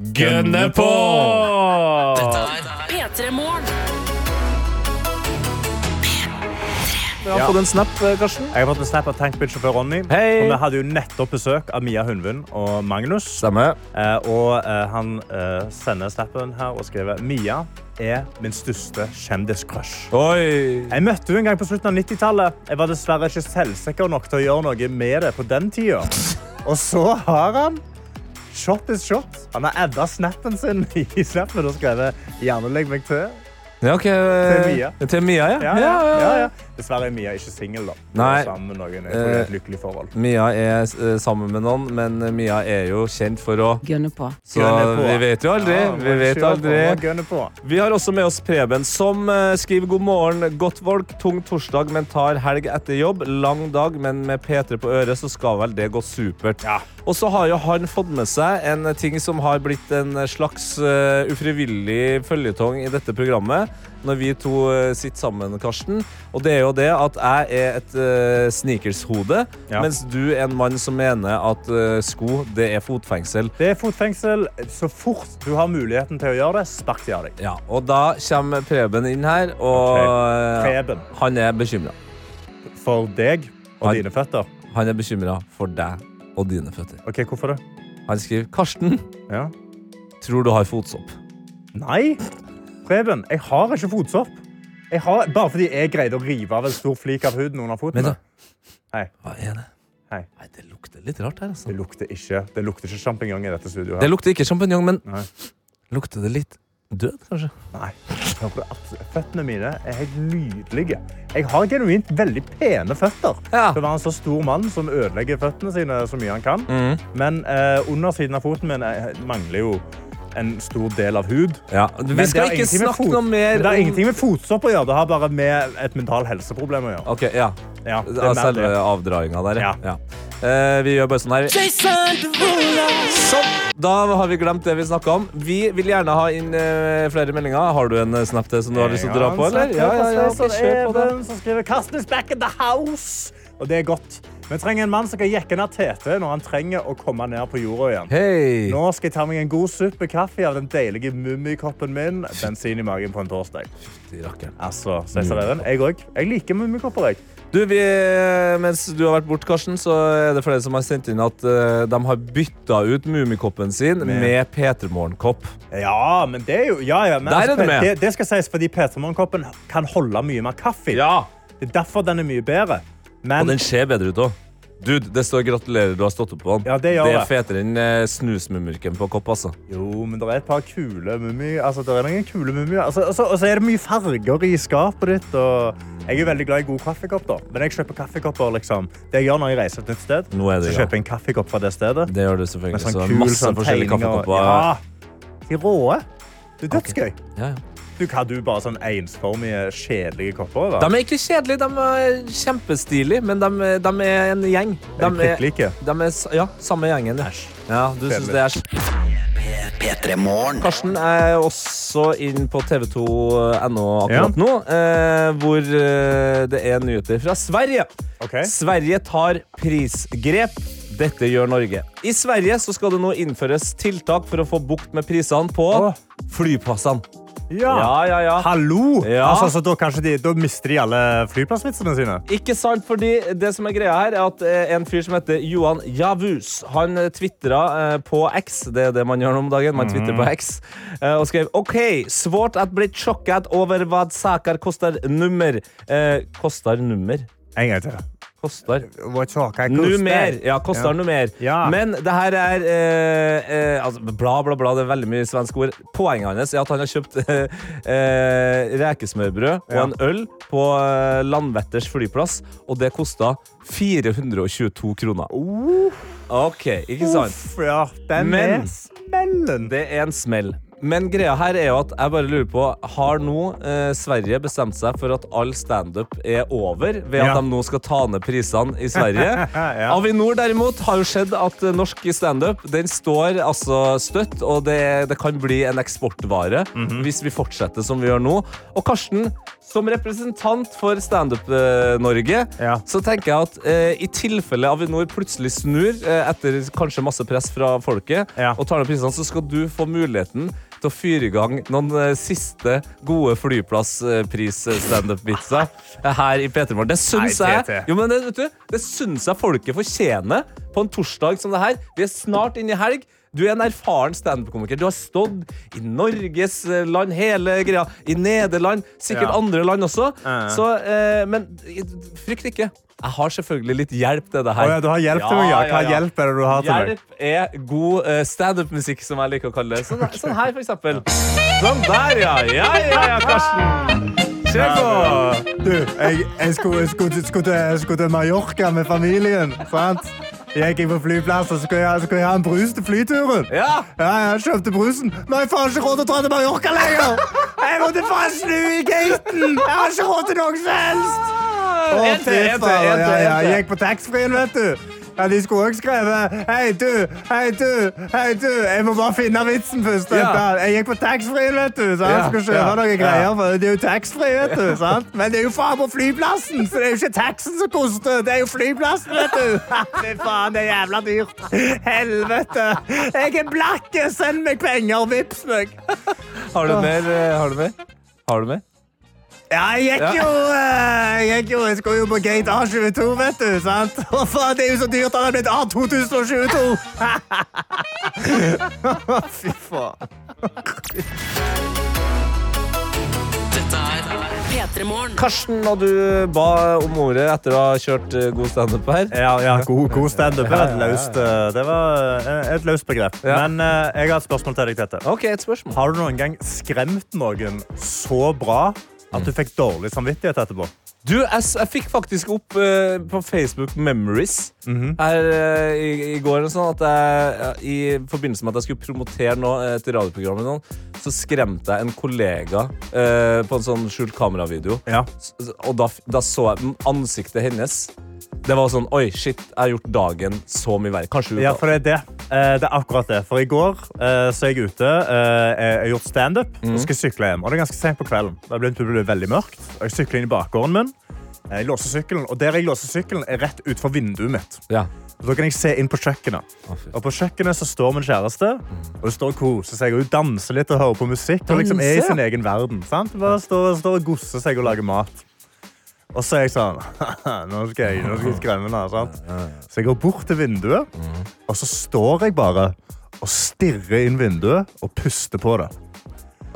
Speaker 3: Gønne på!
Speaker 14: P3 Morgen.
Speaker 3: Vi har
Speaker 4: Ja.
Speaker 3: fått en snap, eh, Karsten.
Speaker 4: Jeg har fått en snap av tankbilsjåfør Ronny.
Speaker 3: Hei.
Speaker 4: Og vi hadde jo nettopp besøk av Mia Hundvin og Magnus. Eh, og eh, han eh, sender snappen her og skriver Mia er min største kjendiscrush. Jeg møtte henne en gang på slutten av 90-tallet. Jeg var dessverre ikke selvsikker nok til å gjøre noe med det på den tida. Og så har han Shot is shot. Han har adda snappen sin i snappen og skrevet 'gjerne legg meg til'.
Speaker 3: Ja, ok.
Speaker 4: Til Mia.
Speaker 3: Til Mia, ja.
Speaker 4: Ja, ja, ja, ja. Dessverre er Mia ikke singel, da. Hun
Speaker 3: Nei. Eh,
Speaker 4: er Sammen med noen Jeg tror det er et lykkelig forhold.
Speaker 3: Mia er eh, sammen med noen, men Mia er jo kjent for å
Speaker 12: Gønne på.
Speaker 3: Så
Speaker 4: Gønne på.
Speaker 3: vi vet jo aldri.
Speaker 4: Ja,
Speaker 3: vi
Speaker 4: må
Speaker 3: vet
Speaker 4: kjøre på,
Speaker 3: aldri.
Speaker 4: må gønne på.
Speaker 3: Vi har også med oss Preben, som eh, skriver god morgen. Godt folk, tung torsdag, men tar helg etter jobb. Lang dag, men med P3 på øret, så skal vel det gå supert. Og så har jo han fått med seg en ting som har blitt en slags eh, ufrivillig føljetong i dette programmet. Når vi to eh, sitter sammen, Karsten. Og det er jo det at jeg er et eh, sneakershode,
Speaker 4: Ja.
Speaker 3: mens du er en mann som mener at eh, sko, det er fotfengsel.
Speaker 4: Det er fotfengsel. Så fort du har muligheten til å gjøre det, spark de av deg.
Speaker 3: Ja, og da kommer Preben inn her, og
Speaker 4: Preben.
Speaker 3: eh, han er bekymra.
Speaker 4: For deg og dine føtter?
Speaker 3: Han er bekymra for deg og dine føtter.
Speaker 4: Ok, Hvorfor det?
Speaker 3: Han skriver Karsten, tror du har fotsopp.
Speaker 4: Nei. Preben, jeg har ikke fotsopp. Jeg har, bare fordi jeg greide å rive av en stor flik av huden under foten.
Speaker 3: Men da-
Speaker 4: Hei.
Speaker 3: Hva er det?
Speaker 4: Hei.
Speaker 3: det lukter litt rart her. altså.
Speaker 4: Det lukter ikke Det lukter ikke sjampinjong i dette studioet. her.
Speaker 3: Det lukter ikke sjampinjong, men
Speaker 4: Nei.
Speaker 3: lukter det litt død, kanskje?
Speaker 4: Nei. Hører du at Føttene mine er helt nydelige. Jeg har genuint veldig pene føtter. Til å være en så stor mann som ødelegger føttene sine så mye han kan.
Speaker 3: Mhm.
Speaker 4: Men eh, undersiden av foten min eh, mangler jo en stor del av hud.
Speaker 3: vi
Speaker 4: Men
Speaker 3: skal
Speaker 4: det har
Speaker 3: ikke
Speaker 4: ingenting med
Speaker 3: snakke noe mer
Speaker 4: Det har
Speaker 3: om-
Speaker 4: ingenting med fotsopp å gjøre. Det har bare med et mental helseproblem å gjøre.
Speaker 3: Ok, ja.
Speaker 4: Ja, det er
Speaker 3: Av
Speaker 4: mer
Speaker 3: selve
Speaker 4: det.
Speaker 3: avdraginga der, ja. ja. Eh, vi gjør bare sånn her. Sånn. Da har vi glemt det vi snakka om. Vi vil gjerne ha inn eh, flere meldinger. Har du en eh, snap til som du har lyst til å dra på, eller? Ja, ja, ja. ok, Kjør på det.
Speaker 4: Even som skriver «Karsten is back in the house!» Og det er godt. Vi trenger en mann som kan jekke ned tete når han trenger å komme ned på jorda igjen.
Speaker 3: Hei.
Speaker 4: Nå skal jeg ta meg en god suppe kaffe av den deilige mummikoppen min. Bensin i magen på en torsdag. Altså, ses dere den. Jeg òg. Jeg liker mummikopper, jeg.
Speaker 3: Du, vi, mens du har vært bort, Karsten, så er det flere som har sendt inn at eh, de har bytta ut Mummikoppen sin
Speaker 4: Med-
Speaker 3: med, P3morgen-kopp.
Speaker 4: Ja, men det er jo ja, ja, men
Speaker 3: Der er
Speaker 4: altså,
Speaker 3: du med.
Speaker 4: Det, det skal sies fordi P3morgen-koppen kan holde mye mer kaffe. i. Det er derfor den er mye bedre. Men
Speaker 3: Og den ser bedre ut òg. Dude, det står 'gratulerer, du har stått opp på den'.
Speaker 4: det gjør
Speaker 3: er fetere enn eh, snusmumriken på kopp, altså.
Speaker 4: Jo, men det er et par kule mumier. Altså, det er noen kule mumier. Altså, altså, og så er det mye farger i skapet ditt. Og jeg er veldig glad i god kaffekopp, da. Men jeg kjøper kaffekopper, liksom. Det jeg gjør når jeg reiser et nytt sted,
Speaker 3: Nå er det
Speaker 4: så
Speaker 3: i gang.
Speaker 4: kjøper jeg en kaffekopp fra det stedet.
Speaker 3: Det gjør du selvfølgelig.
Speaker 4: Med sånn
Speaker 3: så det er
Speaker 4: kul
Speaker 3: masse
Speaker 4: sånn
Speaker 3: forskjellige
Speaker 4: tegning og-
Speaker 3: kaffekopper.
Speaker 4: Ja! De råe. Det er dødsgøy.
Speaker 3: Ja, ja.
Speaker 4: Du, hva, du bare sånn ensformige, kjedelige kopper?
Speaker 3: De er ikke kjedelige, de er kjempestilige, men de, de er en gjeng. De
Speaker 4: Er de prikklike?
Speaker 3: de er s- ja, samme gjengen. ja. Ja, du syns
Speaker 1: Kjedelig.
Speaker 3: det er s- Karsten er også inn på tv2.no akkurat nå, eh, hvor eh, det er nyheter fra Sverige. Sverige tar prisgrep. Dette gjør Norge. I Sverige så skal det nå innføres tiltak for å få bukt med prisene på flyplassene. Ja, ja, ja.
Speaker 4: Hallo!
Speaker 3: Ja.
Speaker 4: Altså, så da, kanskje de, da mister de alle flyplassvitsene sine?
Speaker 3: Ikke sant, fordi det som er greia her er at eh, en fyr som heter Johan Javus, han twittra på X, det er det man gjør nå om dagen, man twitterer på X, eh, og skrev OK, svårt at blitt sjokket over hva saker koster nummer. Eh, koster nummer.
Speaker 4: En gang til.
Speaker 3: Koster.
Speaker 4: koster.
Speaker 3: Numer. Ja, koster
Speaker 4: Ja.
Speaker 3: noe mer. Men det her er eh, eh, altså, Bla, bla, bla. Det er veldig mye svensk ord. Poenget hans er at han har kjøpt eh, eh, rekesmørbrød og
Speaker 4: Ja.
Speaker 3: en øl på eh, Landvetters flyplass, og det kosta 422 kroner. OK, ikke sant?
Speaker 4: Oh. Uff, ja. Den er smellen.
Speaker 3: Det er en smell. Men greia her er jo at jeg bare lurer på Har nå eh, Sverige bestemt seg for at all standup er over ved at
Speaker 4: Ja.
Speaker 3: de nå skal ta ned prisene i Sverige?
Speaker 4: Ja.
Speaker 3: Avinor derimot har jo sett at eh, norsk standup den står altså støtt, og det, det kan bli en eksportvare
Speaker 4: Mhm.
Speaker 3: hvis vi fortsetter som vi gjør nå. Og Karsten, som representant for Standup-Norge, så tenker jeg at eh, i tilfelle Avinor plutselig snur eh, etter kanskje masse press fra folket, og tar ned prisene, så skal du få muligheten til å fyre i gang noen eh, siste gode flyplasspris-standup-vitser her i P3morgen. Det syns
Speaker 4: Nei,
Speaker 3: jeg
Speaker 4: TT.
Speaker 3: Jo, men det, vet du, det syns jeg folket fortjener på en torsdag som det her. Vi er snart inne i helg. Du er en erfaren standup-komiker. Du har stått i Norges eh, land, hele greia. I Nederland. Sikkert
Speaker 4: Ja.
Speaker 3: andre land også.
Speaker 4: Ja, ja.
Speaker 3: Så, eh, men eh, frykt ikke. Jeg har selvfølgelig litt hjelp til det her.
Speaker 4: Å ja, du har hjelp til meg, ja. Hva hjelp er det du har til meg?
Speaker 3: Hjelp er god eh, standup-musikk, som jeg liker å kalle det. Sånn, sånn her, for eksempel. Sånn der, ja. Ja, ja, ja, Karsten. Kjør på!
Speaker 14: Du, jeg, jeg skulle, skulle, til- skulle, til, skulle til Mallorca med familien. sant? Jeg gikk inn på flyplassen, så skulle jeg, skulle jeg ha en brus til flyturen.
Speaker 3: Ja.
Speaker 14: jeg kjøpte brusen. Nå har jeg faen ikke råd til å dra til Mallorca lenger! Jeg måtte faen snu i gaten! Jeg har ikke råd til noe som helst! Å,
Speaker 4: En til,
Speaker 14: fy
Speaker 4: en til,
Speaker 14: faen,
Speaker 4: en
Speaker 14: ja,
Speaker 4: til,
Speaker 14: ja,
Speaker 4: en til.
Speaker 14: Jeg gikk på taxfree-en, vet du. Ja, de skulle også skrevet Hei, du! Hei, du! Hei, du! Jeg må bare finne vitsen først.
Speaker 4: Ja.
Speaker 14: vent da. Jeg gikk på taxfree-en, vet du. Så jeg
Speaker 4: Ja,
Speaker 14: skulle kjøpe
Speaker 4: ja,
Speaker 14: noen
Speaker 4: ja.
Speaker 14: greier. For det er jo taxfree, vet du.
Speaker 4: Ja.
Speaker 14: sant? Men det er jo faen på flyplassen! Så det er jo ikke taxen som koster, det er jo flyplassen, vet du. Fy faen, det er jævla dyrt. Helvete. Jeg er blakk! Send meg penger! Vips meg!
Speaker 3: Har du mer? eh, Har du mer? Har du mer?
Speaker 14: Ja, jeg gikk
Speaker 3: Ja.
Speaker 14: jo eh, Jeg gikk jo, jeg skulle jo på gate A22, vet du. sant? Å, faen, det er jo så dyrt at det har blitt A2022! Fy faen.
Speaker 15: Dette er P3morgen.
Speaker 3: Karsten, da du ba om ordet etter å ha kjørt eh, god standup her
Speaker 4: Ja, ja god, god standup. Det var et løst, eh, det var eh, et løst begrep.
Speaker 3: Ja.
Speaker 4: Men eh, jeg har et spørsmål til deg, Tete. Har du noen gang skremt noen så bra at du fikk dårlig samvittighet etterpå?
Speaker 3: Du, jeg, s- jeg fikk faktisk opp eh, på Facebook Memories
Speaker 4: Mhm.
Speaker 3: her eh, i, i går og sånn at jeg, ja, i forbindelse med at jeg skulle promotere noe eh, til radioprogrammet, og sånn, så skremte jeg en kollega eh, på en sånn skjult kameravideo. S- s- Og da, f- da så jeg m- ansiktet hennes. Det var sånn Oi, shit, jeg har gjort dagen så mye verre. Kanskje du
Speaker 4: Ja, for det er det. Eh, Det er akkurat det. For i går eh, så er jeg ute. eh, Jeg har gjort standup og skal sykle hjem. Og det er ganske sent på kvelden. Det er begynt å bli veldig mørkt. Og jeg sykler inn i bakgården min. Jeg låser sykkelen, og der jeg låser sykkelen, er rett utenfor vinduet mitt. Og Da kan jeg se inn på kjøkkenet. Og på kjøkkenet så står min kjæreste, og det står og koser seg. Og hun danser litt og hører på musikk. Og liksom er i
Speaker 14: Danse?
Speaker 4: sin egen verden. Sant? Bare står, står og gosser seg og lager mat. Og så er jeg sånn Nå skal jeg, nå skal jeg skremme henne. Sant? Så jeg går bort til vinduet, og så står jeg bare og stirrer inn vinduet og puster på det.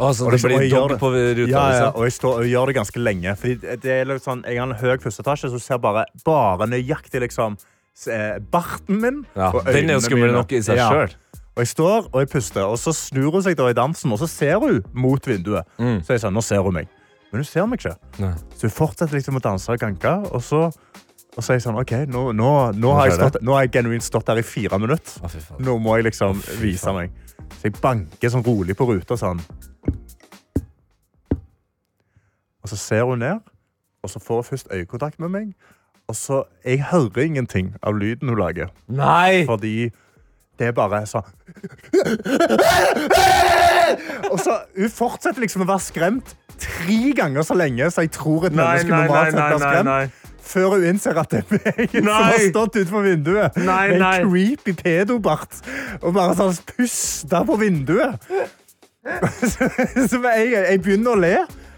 Speaker 3: Altså,
Speaker 4: Og
Speaker 3: det
Speaker 4: liksom, og
Speaker 3: blir
Speaker 4: jeg gjør
Speaker 3: dobbelt på ruta.
Speaker 4: Ja, ja,
Speaker 3: liksom.
Speaker 4: og jeg, står, og gjør det ganske lenge. Fordi det er litt sånn, jeg har en høy pustetasje, så du ser bare, bare nøyaktig liksom, s- eh, barten min
Speaker 3: Ja,
Speaker 4: og
Speaker 3: den er jo
Speaker 4: øynene
Speaker 3: skummel
Speaker 4: mine.
Speaker 3: nok i seg
Speaker 4: Ja.
Speaker 3: selv.
Speaker 4: Og jeg står og jeg puster, og så snur hun seg da i dansen, og så ser hun mot vinduet. Så jeg sa, nå ser hun meg. Men hun ser meg ikke.
Speaker 3: Mm. Nei.
Speaker 4: Så hun fortsetter liksom å danse og ganke, og så... Og så er jeg sånn, ok, nå, nå, nå, har, jeg
Speaker 14: skjer det.
Speaker 4: stått, nå har jeg genuint stått der i fire minutter. Nå må jeg liksom vise meg. Så jeg banker sånn rolig på ruta sånn. Og så ser hun ned, og så får hun først øyekontakt med meg. Og så, jeg hører ingenting av lyden hun lager.
Speaker 3: Nei!
Speaker 4: Fordi det er bare sånn Og så, hun fortsetter liksom å være skremt tre ganger så lenge, så jeg tror et
Speaker 14: Nei,
Speaker 4: menneske
Speaker 14: nei,
Speaker 4: normalt sett
Speaker 14: nei,
Speaker 4: blir
Speaker 14: nei,
Speaker 4: skremt.
Speaker 14: nei.
Speaker 4: Før hun innser at det er meg som har
Speaker 14: Nei.
Speaker 4: stått utenfor vinduet
Speaker 14: Nei,
Speaker 4: med
Speaker 14: nei.
Speaker 4: en creepy pedobart og bare sånn pusta på vinduet. Så, så med en gang, jeg begynner å le,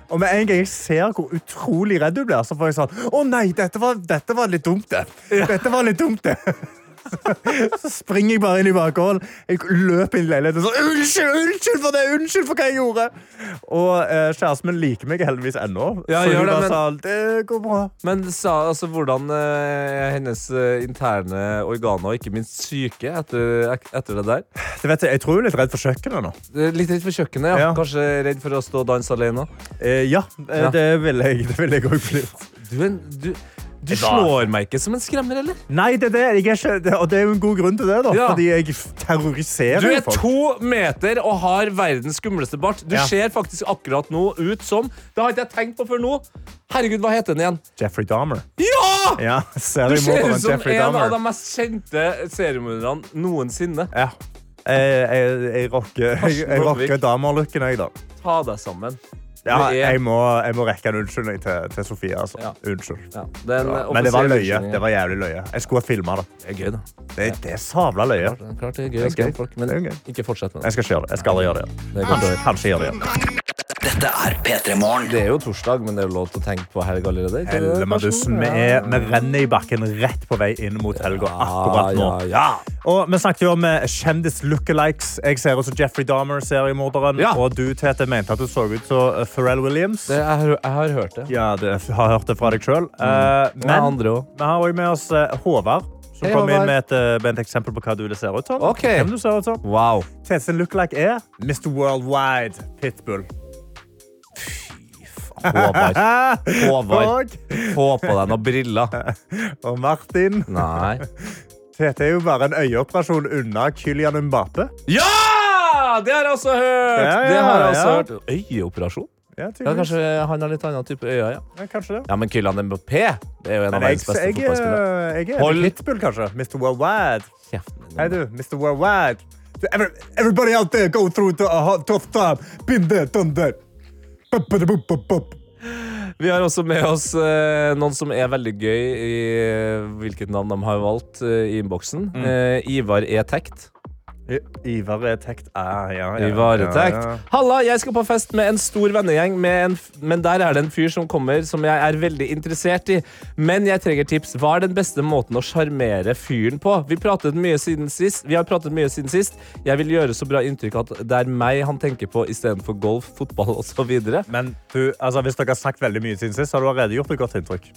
Speaker 4: og med en gang jeg ser hvor utrolig redd hun blir, så får jeg sånn Å nei, dette var, dette var litt dumt, det. Dette var litt dumt, det. Så, så springer jeg bare inn i bakgården. Jeg løper inn i leiligheten og sånn Unnskyld, unnskyld for det! Unnskyld for hva jeg gjorde! Og eh, kjæresten min liker meg heldigvis ennå.
Speaker 3: Ja,
Speaker 4: så
Speaker 3: gjør
Speaker 4: hun
Speaker 3: det,
Speaker 4: bare
Speaker 3: men-
Speaker 4: sa det går bra.
Speaker 3: Men sa, altså, hvordan eh, er hennes eh, interne organer, og ikke minst syke, etter, ek- etter det der?
Speaker 4: Det vet jeg, jeg tror hun er litt redd for kjøkkenet nå.
Speaker 3: Eh, Litt redd for kjøkkenet, ja. Kanskje redd for å stå og danse alene?
Speaker 4: ja, eh, det ville jeg- det ville jeg også blitt.
Speaker 3: Du, er en- du, du slår meg ikke som en skremmer, eller?
Speaker 4: Nei, det er det. Jeg er ikke, det, og det er jo en god grunn til det, da.
Speaker 3: Ja.
Speaker 4: Fordi jeg f- terroriserer
Speaker 3: Du
Speaker 4: jo
Speaker 3: er
Speaker 4: folk.
Speaker 3: to meter og har verdens skumleste bart. Du
Speaker 4: Ja.
Speaker 3: ser faktisk akkurat nå ut som Det har ikke jeg tenkt på før nå. Herregud, hva heter den igjen?
Speaker 4: Jeffrey Dahmer.
Speaker 3: Ja!
Speaker 4: Ja,
Speaker 3: Du ser
Speaker 4: seriemorderen
Speaker 3: ut som
Speaker 4: Jeffrey
Speaker 3: en av de
Speaker 4: Dahmer.
Speaker 3: mest kjente seriemorderne noensinne.
Speaker 4: Ja. Jeg, jeg, jeg rocker, jeg,
Speaker 3: Karsten
Speaker 4: jeg
Speaker 3: Blomvik.
Speaker 4: rocker Dahmer-looken, jeg, da.
Speaker 3: Ta deg sammen.
Speaker 4: Ja,
Speaker 3: Du er-
Speaker 4: jeg, må, jeg må rekke en unnskyldning til, til Sofie. Altså. Unnskyld.
Speaker 3: det er en
Speaker 4: Ja, Men det
Speaker 3: offisiell
Speaker 4: var løye.
Speaker 3: unnskyldning.
Speaker 4: Det var jævlig løye. Jeg skulle ha filma det.
Speaker 3: eh, Det er gøy, da.
Speaker 4: Det, er savla løye.
Speaker 3: Klart det er
Speaker 4: Det
Speaker 3: gøy
Speaker 4: er
Speaker 3: å skremme
Speaker 4: gøy.
Speaker 3: folk, men ikke fortsett med det.
Speaker 4: Jeg skal ikke gjøre det. Jeg skal aldri gjøre det.
Speaker 3: er
Speaker 4: igjen.
Speaker 3: godt å
Speaker 4: Kanskje, kanskje gjøre det igjen.
Speaker 1: Dette er P3 Morgen.
Speaker 3: Det er jo torsdag, men det er jo lov til å tenke på helg allerede. ikke det, Karsten?
Speaker 4: Hellemadussen. Vi,
Speaker 3: Ja.
Speaker 4: er, vi renner E, i bakken rett på vei inn mot helga akkurat nå.
Speaker 3: ja, ja.
Speaker 4: Og vi snakket jo om eh, kjendis-lookalikes. Jeg ser ut som Jeffrey Dahmer, seriemorderen. Og du, Tete, mente at du så ut som eh, Pharrell Williams.
Speaker 3: Det, jeg, har- jeg har hørt det.
Speaker 4: Ja, det jeg har hørt det fra deg sjøl.
Speaker 3: Og andre også.
Speaker 4: vi har også med oss eh, Håvard, som
Speaker 3: Hei,
Speaker 4: kom inn
Speaker 3: Håvard.
Speaker 4: med et, eh, med et eksempel på hva du vil se ut som.
Speaker 3: Ok.
Speaker 4: Hvem du ser ut som.
Speaker 3: Wow.
Speaker 4: Tete sin lookalike er Mr. Worldwide Pitbull.
Speaker 3: Håvard. Håvard.
Speaker 4: Og-
Speaker 3: Få på deg noen briller.
Speaker 4: Og Martin.
Speaker 3: Nei.
Speaker 4: Tete er jo bare en øyeoperasjon unna Kylian Mbappe.
Speaker 3: Ja! Det har jeg også hørt!
Speaker 4: Ja, ja,
Speaker 3: det har jeg også
Speaker 4: ja.
Speaker 3: hørt. Øyeoperasjon?
Speaker 4: Ja,
Speaker 3: Ja,
Speaker 4: tydeligvis.
Speaker 3: kanskje han har litt annen type øyne. Ja.
Speaker 4: Ja, kanskje det.
Speaker 3: ja, men Kylian Mbappé det er jo en av
Speaker 4: Men jeg,
Speaker 3: verdens beste
Speaker 4: jeg, eh,
Speaker 3: fotballspillere.
Speaker 4: jeg er
Speaker 3: Hold-
Speaker 4: Hold. Pitbull, kanskje. Mr. Worldwide. Hei, du. Mr. Worldwide. To every- Everybody out there go through to a hot, tough time. Been there, done that. Bup, bup, bup, bup, bup.
Speaker 3: Vi har også med oss eh, noen som er veldig gøy i eh, hvilket navn de har valgt eh, i innboksen.
Speaker 4: Mm.
Speaker 3: Eh, Ivar E. Tekt.
Speaker 4: I- Ivar er tekt. Ah, ja, ja,
Speaker 3: Ivaretekt.
Speaker 4: ja, ja.
Speaker 3: Halla, jeg skal på fest med en stor vennegjeng, med en f men der er det en fyr som kommer som jeg er veldig interessert i. Men jeg trenger tips. Hva er den beste måten å sjarmere fyren på? Vi, pratet mye siden sist. Vi har pratet mye siden sist. Jeg vil gjøre så bra inntrykk at det er meg han tenker på istedenfor golf, fotball osv.
Speaker 4: Men du, altså, hvis dere har sagt veldig mye siden sist, så har du allerede gjort et godt inntrykk.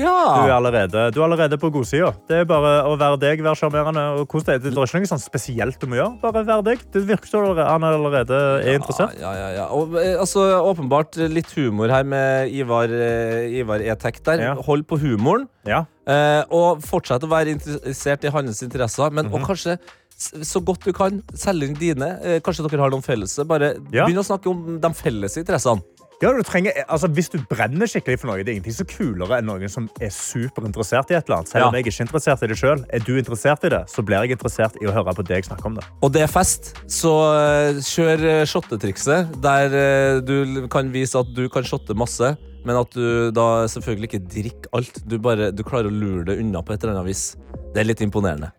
Speaker 4: Du er
Speaker 3: Ja.
Speaker 4: allerede, du er allerede på godsida. Det er bare å være deg, være sjarmerende og kos deg. Det er ikke noe sånn spesielt du må gjøre. Bare være deg. Det virker som du han allerede er interessert.
Speaker 3: Ja, ja, ja. Og, eh, altså, åpenbart litt humor her med Ivar, eh, Ivar E-Tech der.
Speaker 4: Ja.
Speaker 3: Hold på humoren.
Speaker 4: Ja.
Speaker 3: Eh, og fortsett å være interessert i hans interesser, men
Speaker 4: Mhm.
Speaker 3: og kanskje s- så godt du kan, selge inn dine. Eh, kanskje dere har noen felles. Bare
Speaker 4: Ja.
Speaker 3: begynn å snakke om de felles interessene.
Speaker 4: Ja, du trenger, altså, hvis du brenner skikkelig for noe, det er ingenting så kulere enn noen som er superinteressert i et eller annet. Selv om
Speaker 3: Ja.
Speaker 4: jeg ikke er interessert i det selv, er du interessert i det, så blir jeg interessert i å høre på deg snakke om det.
Speaker 3: Og det er fest, så eh, kjør eh, shottetrikset, der eh, du l- kan vise at du kan shotte masse, men at du da selvfølgelig ikke drikker alt. Du, bare, du klarer å lure det unna på et eller annet vis. Det er litt imponerende.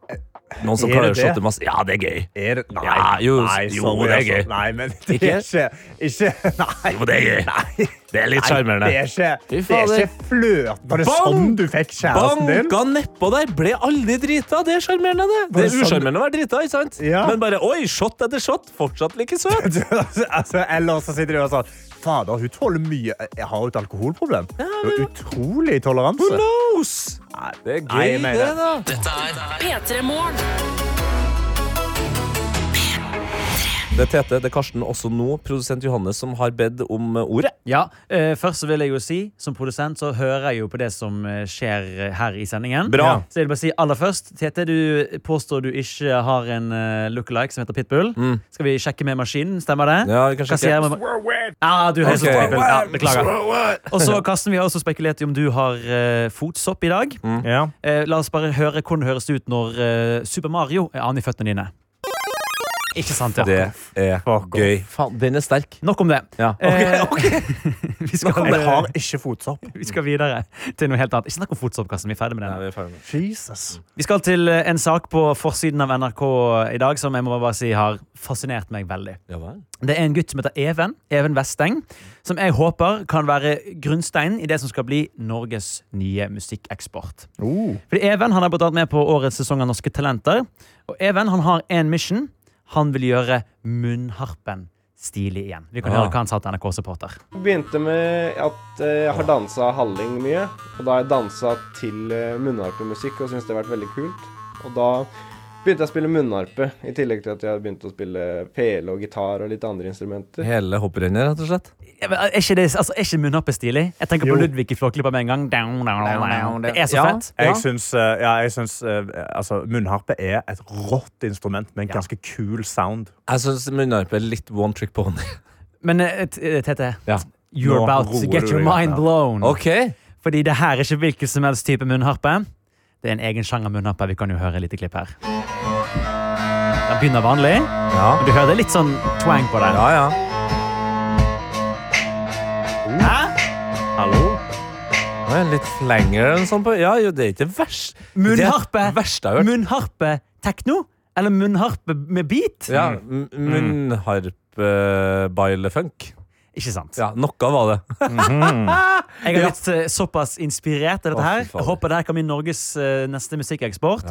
Speaker 3: Noen som
Speaker 4: Er
Speaker 3: klarer å
Speaker 4: det det?
Speaker 3: shotte masse. Ja, det er gøy.
Speaker 4: Er det? Nei,
Speaker 3: Ja, jo,
Speaker 4: nei,
Speaker 3: jo,
Speaker 4: sorry,
Speaker 3: det er
Speaker 4: altså.
Speaker 3: gøy.
Speaker 4: Nei, men det er ikke, ikke Nei.
Speaker 3: Jo, det er gøy.
Speaker 4: Nei.
Speaker 3: Det er litt
Speaker 4: Nei,
Speaker 3: sjarmerende.
Speaker 4: Det er ikke,
Speaker 3: Fy
Speaker 4: det er
Speaker 3: fader.
Speaker 4: ikke flørt. Var det sånn du fikk kjæresten din?
Speaker 3: Banka nedpå der, ble aldri drita. Det er sjarmerende, det. Det
Speaker 4: Var det
Speaker 3: er
Speaker 4: sånn-
Speaker 3: usjarmerende å være drita, ikke sant?
Speaker 4: Ja.
Speaker 3: Men bare oi, shot etter shot, fortsatt like søt.
Speaker 4: altså, eller så sitter de og sånn Fader, hun tåler mye. Jeg har jo et alkoholproblem. Det er utrolig toleranse.
Speaker 3: Who knows? Det er
Speaker 4: Nei,
Speaker 3: gøy,
Speaker 4: jeg mener
Speaker 3: det,
Speaker 4: det.
Speaker 3: da.
Speaker 15: Dette er P3 Morgen.
Speaker 3: Det er Tete, det er Karsten, også nå produsent Johannes, som har bedt om eh, ordet.
Speaker 16: Ja, eh, først så vil jeg jo si, som produsent så hører jeg jo på det som eh, skjer eh, her i sendingen.
Speaker 3: Bra.
Speaker 16: Ja. Så jeg vil bare si aller først, Tete, du påstår du ikke har en eh, lookalike som heter Pitbull. Skal vi sjekke med maskinen, stemmer det?
Speaker 3: Mm. Ja, vi kan
Speaker 16: Hva
Speaker 3: sjekke.
Speaker 16: sier jeg med- Ja, du høres ut som
Speaker 3: Ok.
Speaker 16: Pitbull. Ja, beklager.
Speaker 3: Swear word.
Speaker 16: Og så, Karsten, vi har også spekulert i om du har eh, fotsopp i dag. Eh, la oss bare høre hvordan det høres ut når eh, Super Mario er an i føttene dine. Ikke sant, ja.
Speaker 3: Det er gøy. Faen, den er sterk.
Speaker 16: Nok om det.
Speaker 3: Ja.
Speaker 16: Eh, vi
Speaker 4: Nå
Speaker 16: skal,
Speaker 4: kan jeg har ikke fotsopp.
Speaker 16: Vi skal videre til noe helt annet. Ikke snakk om fotsopp, Karsten. Vi er ferdig med den.
Speaker 4: Jesus.
Speaker 16: Vi skal til eh, en sak på forsiden av NRK i dag som jeg må bare si har fascinert meg veldig. Det er en gutt som heter Even, Even Vesteng, som jeg håper kan være grunnsteinen i det som skal bli Norges nye musikkeksport. Fordi Even han har blitt med på årets sesong av Norske Talenter. Og Even han har en mission. Han vil gjøre munnharpen stilig igjen. Vi kan
Speaker 17: Ah.
Speaker 16: høre hva han sa til NRK-supporter.
Speaker 17: begynte med at eh, jeg har dansa halling mye. Og da har jeg dansa til eh, munnharpemusikk og syntes det har vært veldig kult. Og da begynte jeg å spille munnharpe, i tillegg til at jeg hadde begynt å spille pele og gitar og litt andre instrumenter.
Speaker 3: Hele hopprennet, rett og slett.
Speaker 16: Ja, men Er ikke, det, altså, er ikke munnhoppet stilig? Jeg tenker på
Speaker 17: Jo.
Speaker 16: Ludvig i Flåklypa med en gang. Down, down, down. Det er så
Speaker 4: Ja,
Speaker 16: fett.
Speaker 4: Jeg syns, eh, ja, jeg syns eh, altså, munnharpe er et rått instrument med en ganske kul sound.
Speaker 3: Jeg syns munnharpe er litt one trick pony.
Speaker 16: Men eh, t- Tete,
Speaker 3: Ja.
Speaker 16: you're
Speaker 3: Nå
Speaker 16: about to
Speaker 3: roer
Speaker 16: get
Speaker 3: du
Speaker 16: your
Speaker 3: deg
Speaker 16: mind
Speaker 3: ned.
Speaker 16: blown.
Speaker 3: Ok.
Speaker 16: Fordi det her er ikke hvilken som helst type munnharpe. Det er en egen sjanger munnharpe. Vi kan jo høre et lite klipp her. Den begynner vanlig. Men Du hører det er litt sånn twang på den. Hæ? Hallo?
Speaker 3: Det er litt lenger enn sånn på Ja, jo, det er ikke verst.
Speaker 16: Munnharpe.
Speaker 3: Verste jeg har hørt.
Speaker 16: Munnharpe tekno? Eller munnharpe med beat?
Speaker 3: Ja,
Speaker 16: Mm.
Speaker 3: m- munnharpe-bailefunk.
Speaker 16: Ikke sant?
Speaker 3: Ja, noe var det.
Speaker 16: Jeg har blitt eh, såpass inspirert av dette her.
Speaker 3: Å, fy fader.
Speaker 16: Jeg håper det her kan bli Norges eh, neste musikkeksport.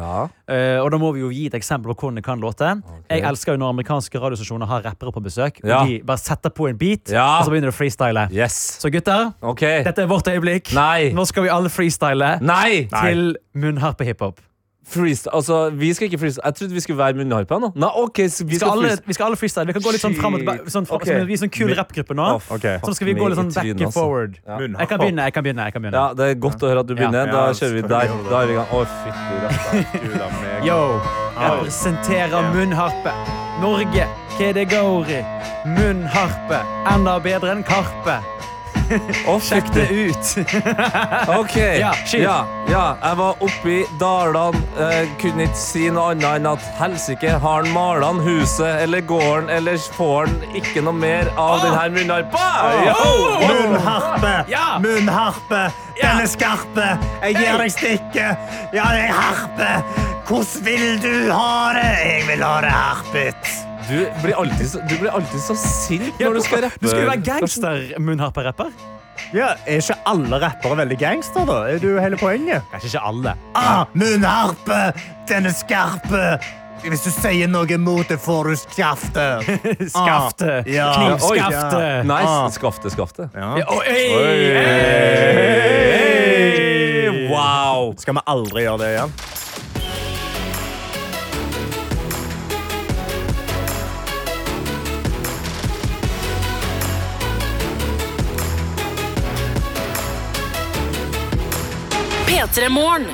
Speaker 16: Eh, og da må vi jo gi et eksempel på hvordan det kan låte. Jeg elsker jo når amerikanske radiostasjoner har rappere på besøk.
Speaker 3: Ja.
Speaker 16: Og de bare setter på en beat,
Speaker 3: Ja.
Speaker 16: og så begynner de å freestyle. Så gutter, dette er vårt øyeblikk. Nå skal vi alle freestyle
Speaker 3: Nei.
Speaker 16: til munnharpe-hiphop.
Speaker 3: Freestyle, altså, vi skal ikke freestyle. Jeg trodde vi skulle være munnharpa nå. Nei, ok, så
Speaker 16: Vi
Speaker 3: vi skal,
Speaker 16: skal, alle,
Speaker 3: freestyle.
Speaker 16: vi skal alle freestyle. Vi kan gå litt sånn fram og tilbake. Sånn, fra-
Speaker 3: Ok.
Speaker 16: som en- Vi er sånn kul
Speaker 3: Mi-
Speaker 16: rappgruppe nå.
Speaker 3: Åh, ok.
Speaker 16: Så skal vi
Speaker 3: Fuck
Speaker 16: gå
Speaker 3: me
Speaker 16: litt sånn
Speaker 3: i
Speaker 16: back
Speaker 3: trynet,
Speaker 16: and
Speaker 3: altså.
Speaker 16: forward.
Speaker 3: Ja.
Speaker 16: Jeg kan begynne. jeg kan begynne, jeg kan begynne.
Speaker 3: Ja, det er godt å høre at du begynner.
Speaker 16: Ja.
Speaker 3: Da
Speaker 16: Ja,
Speaker 3: kjører vi der.
Speaker 16: selvfølgelig.
Speaker 3: Da er vi i gang. Å, fytti
Speaker 16: Yo, representerer munnharpe. Norge, hva det går i? Munnharpe. Enda bedre enn karpe. Sjekk det ut.
Speaker 3: OK.
Speaker 16: Ja, skyt.
Speaker 3: ja, ja. Jeg var oppe i Dalane. eh, kunne ikke si noe annet enn at helsike, har han malan huset eller gården, eller får han ikke noe mer
Speaker 16: Ah!
Speaker 3: av denne munnharpa? Yo!
Speaker 4: Munnharpe! Munnharpe! Den er skarpe! Jeg gir deg stikket! Ja, det er harpe! Hvordan vil du ha det? Jeg vil ha det harpet!
Speaker 3: Du blir alltid så, du blir alltid så sint
Speaker 16: Ja,
Speaker 3: når du skal rappe.
Speaker 16: Du skulle være gangster-munnharperapper.
Speaker 4: Ja, Er ikke alle rappere veldig gangster, da? Er du hele poenget?
Speaker 16: Kanskje ikke alle.
Speaker 4: Ah, munnharpe! Den er skarpe! Hvis du sier noe mot det, får du skaftet.
Speaker 16: Skaftet. Knivskaftet.
Speaker 1: eh,
Speaker 4: Oi, ja.
Speaker 3: Nei,
Speaker 4: Ah.
Speaker 3: skafte, skafte.
Speaker 4: Ja,
Speaker 16: oi,
Speaker 3: Wow!
Speaker 4: Skal vi aldri gjøre det igjen?
Speaker 18: P3 Morgen.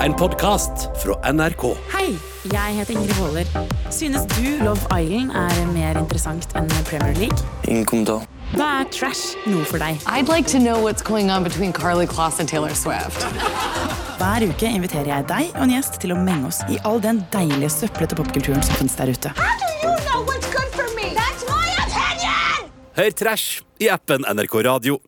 Speaker 1: En podkast fra NRK.
Speaker 12: Hei, jeg heter Ingrid Waaler. Synes du Love Island er mer interessant enn Premier League?
Speaker 19: Ingen kommentar.
Speaker 12: Da er trash noe for deg.
Speaker 2: I'd like to know what's going on between Carly Kloss and Taylor Swift.
Speaker 12: Hver uke inviterer jeg deg og en gjest til å menge oss i all den deilige søplete popkulturen som finnes der ute.
Speaker 1: Hør Trash i appen NRK Radio.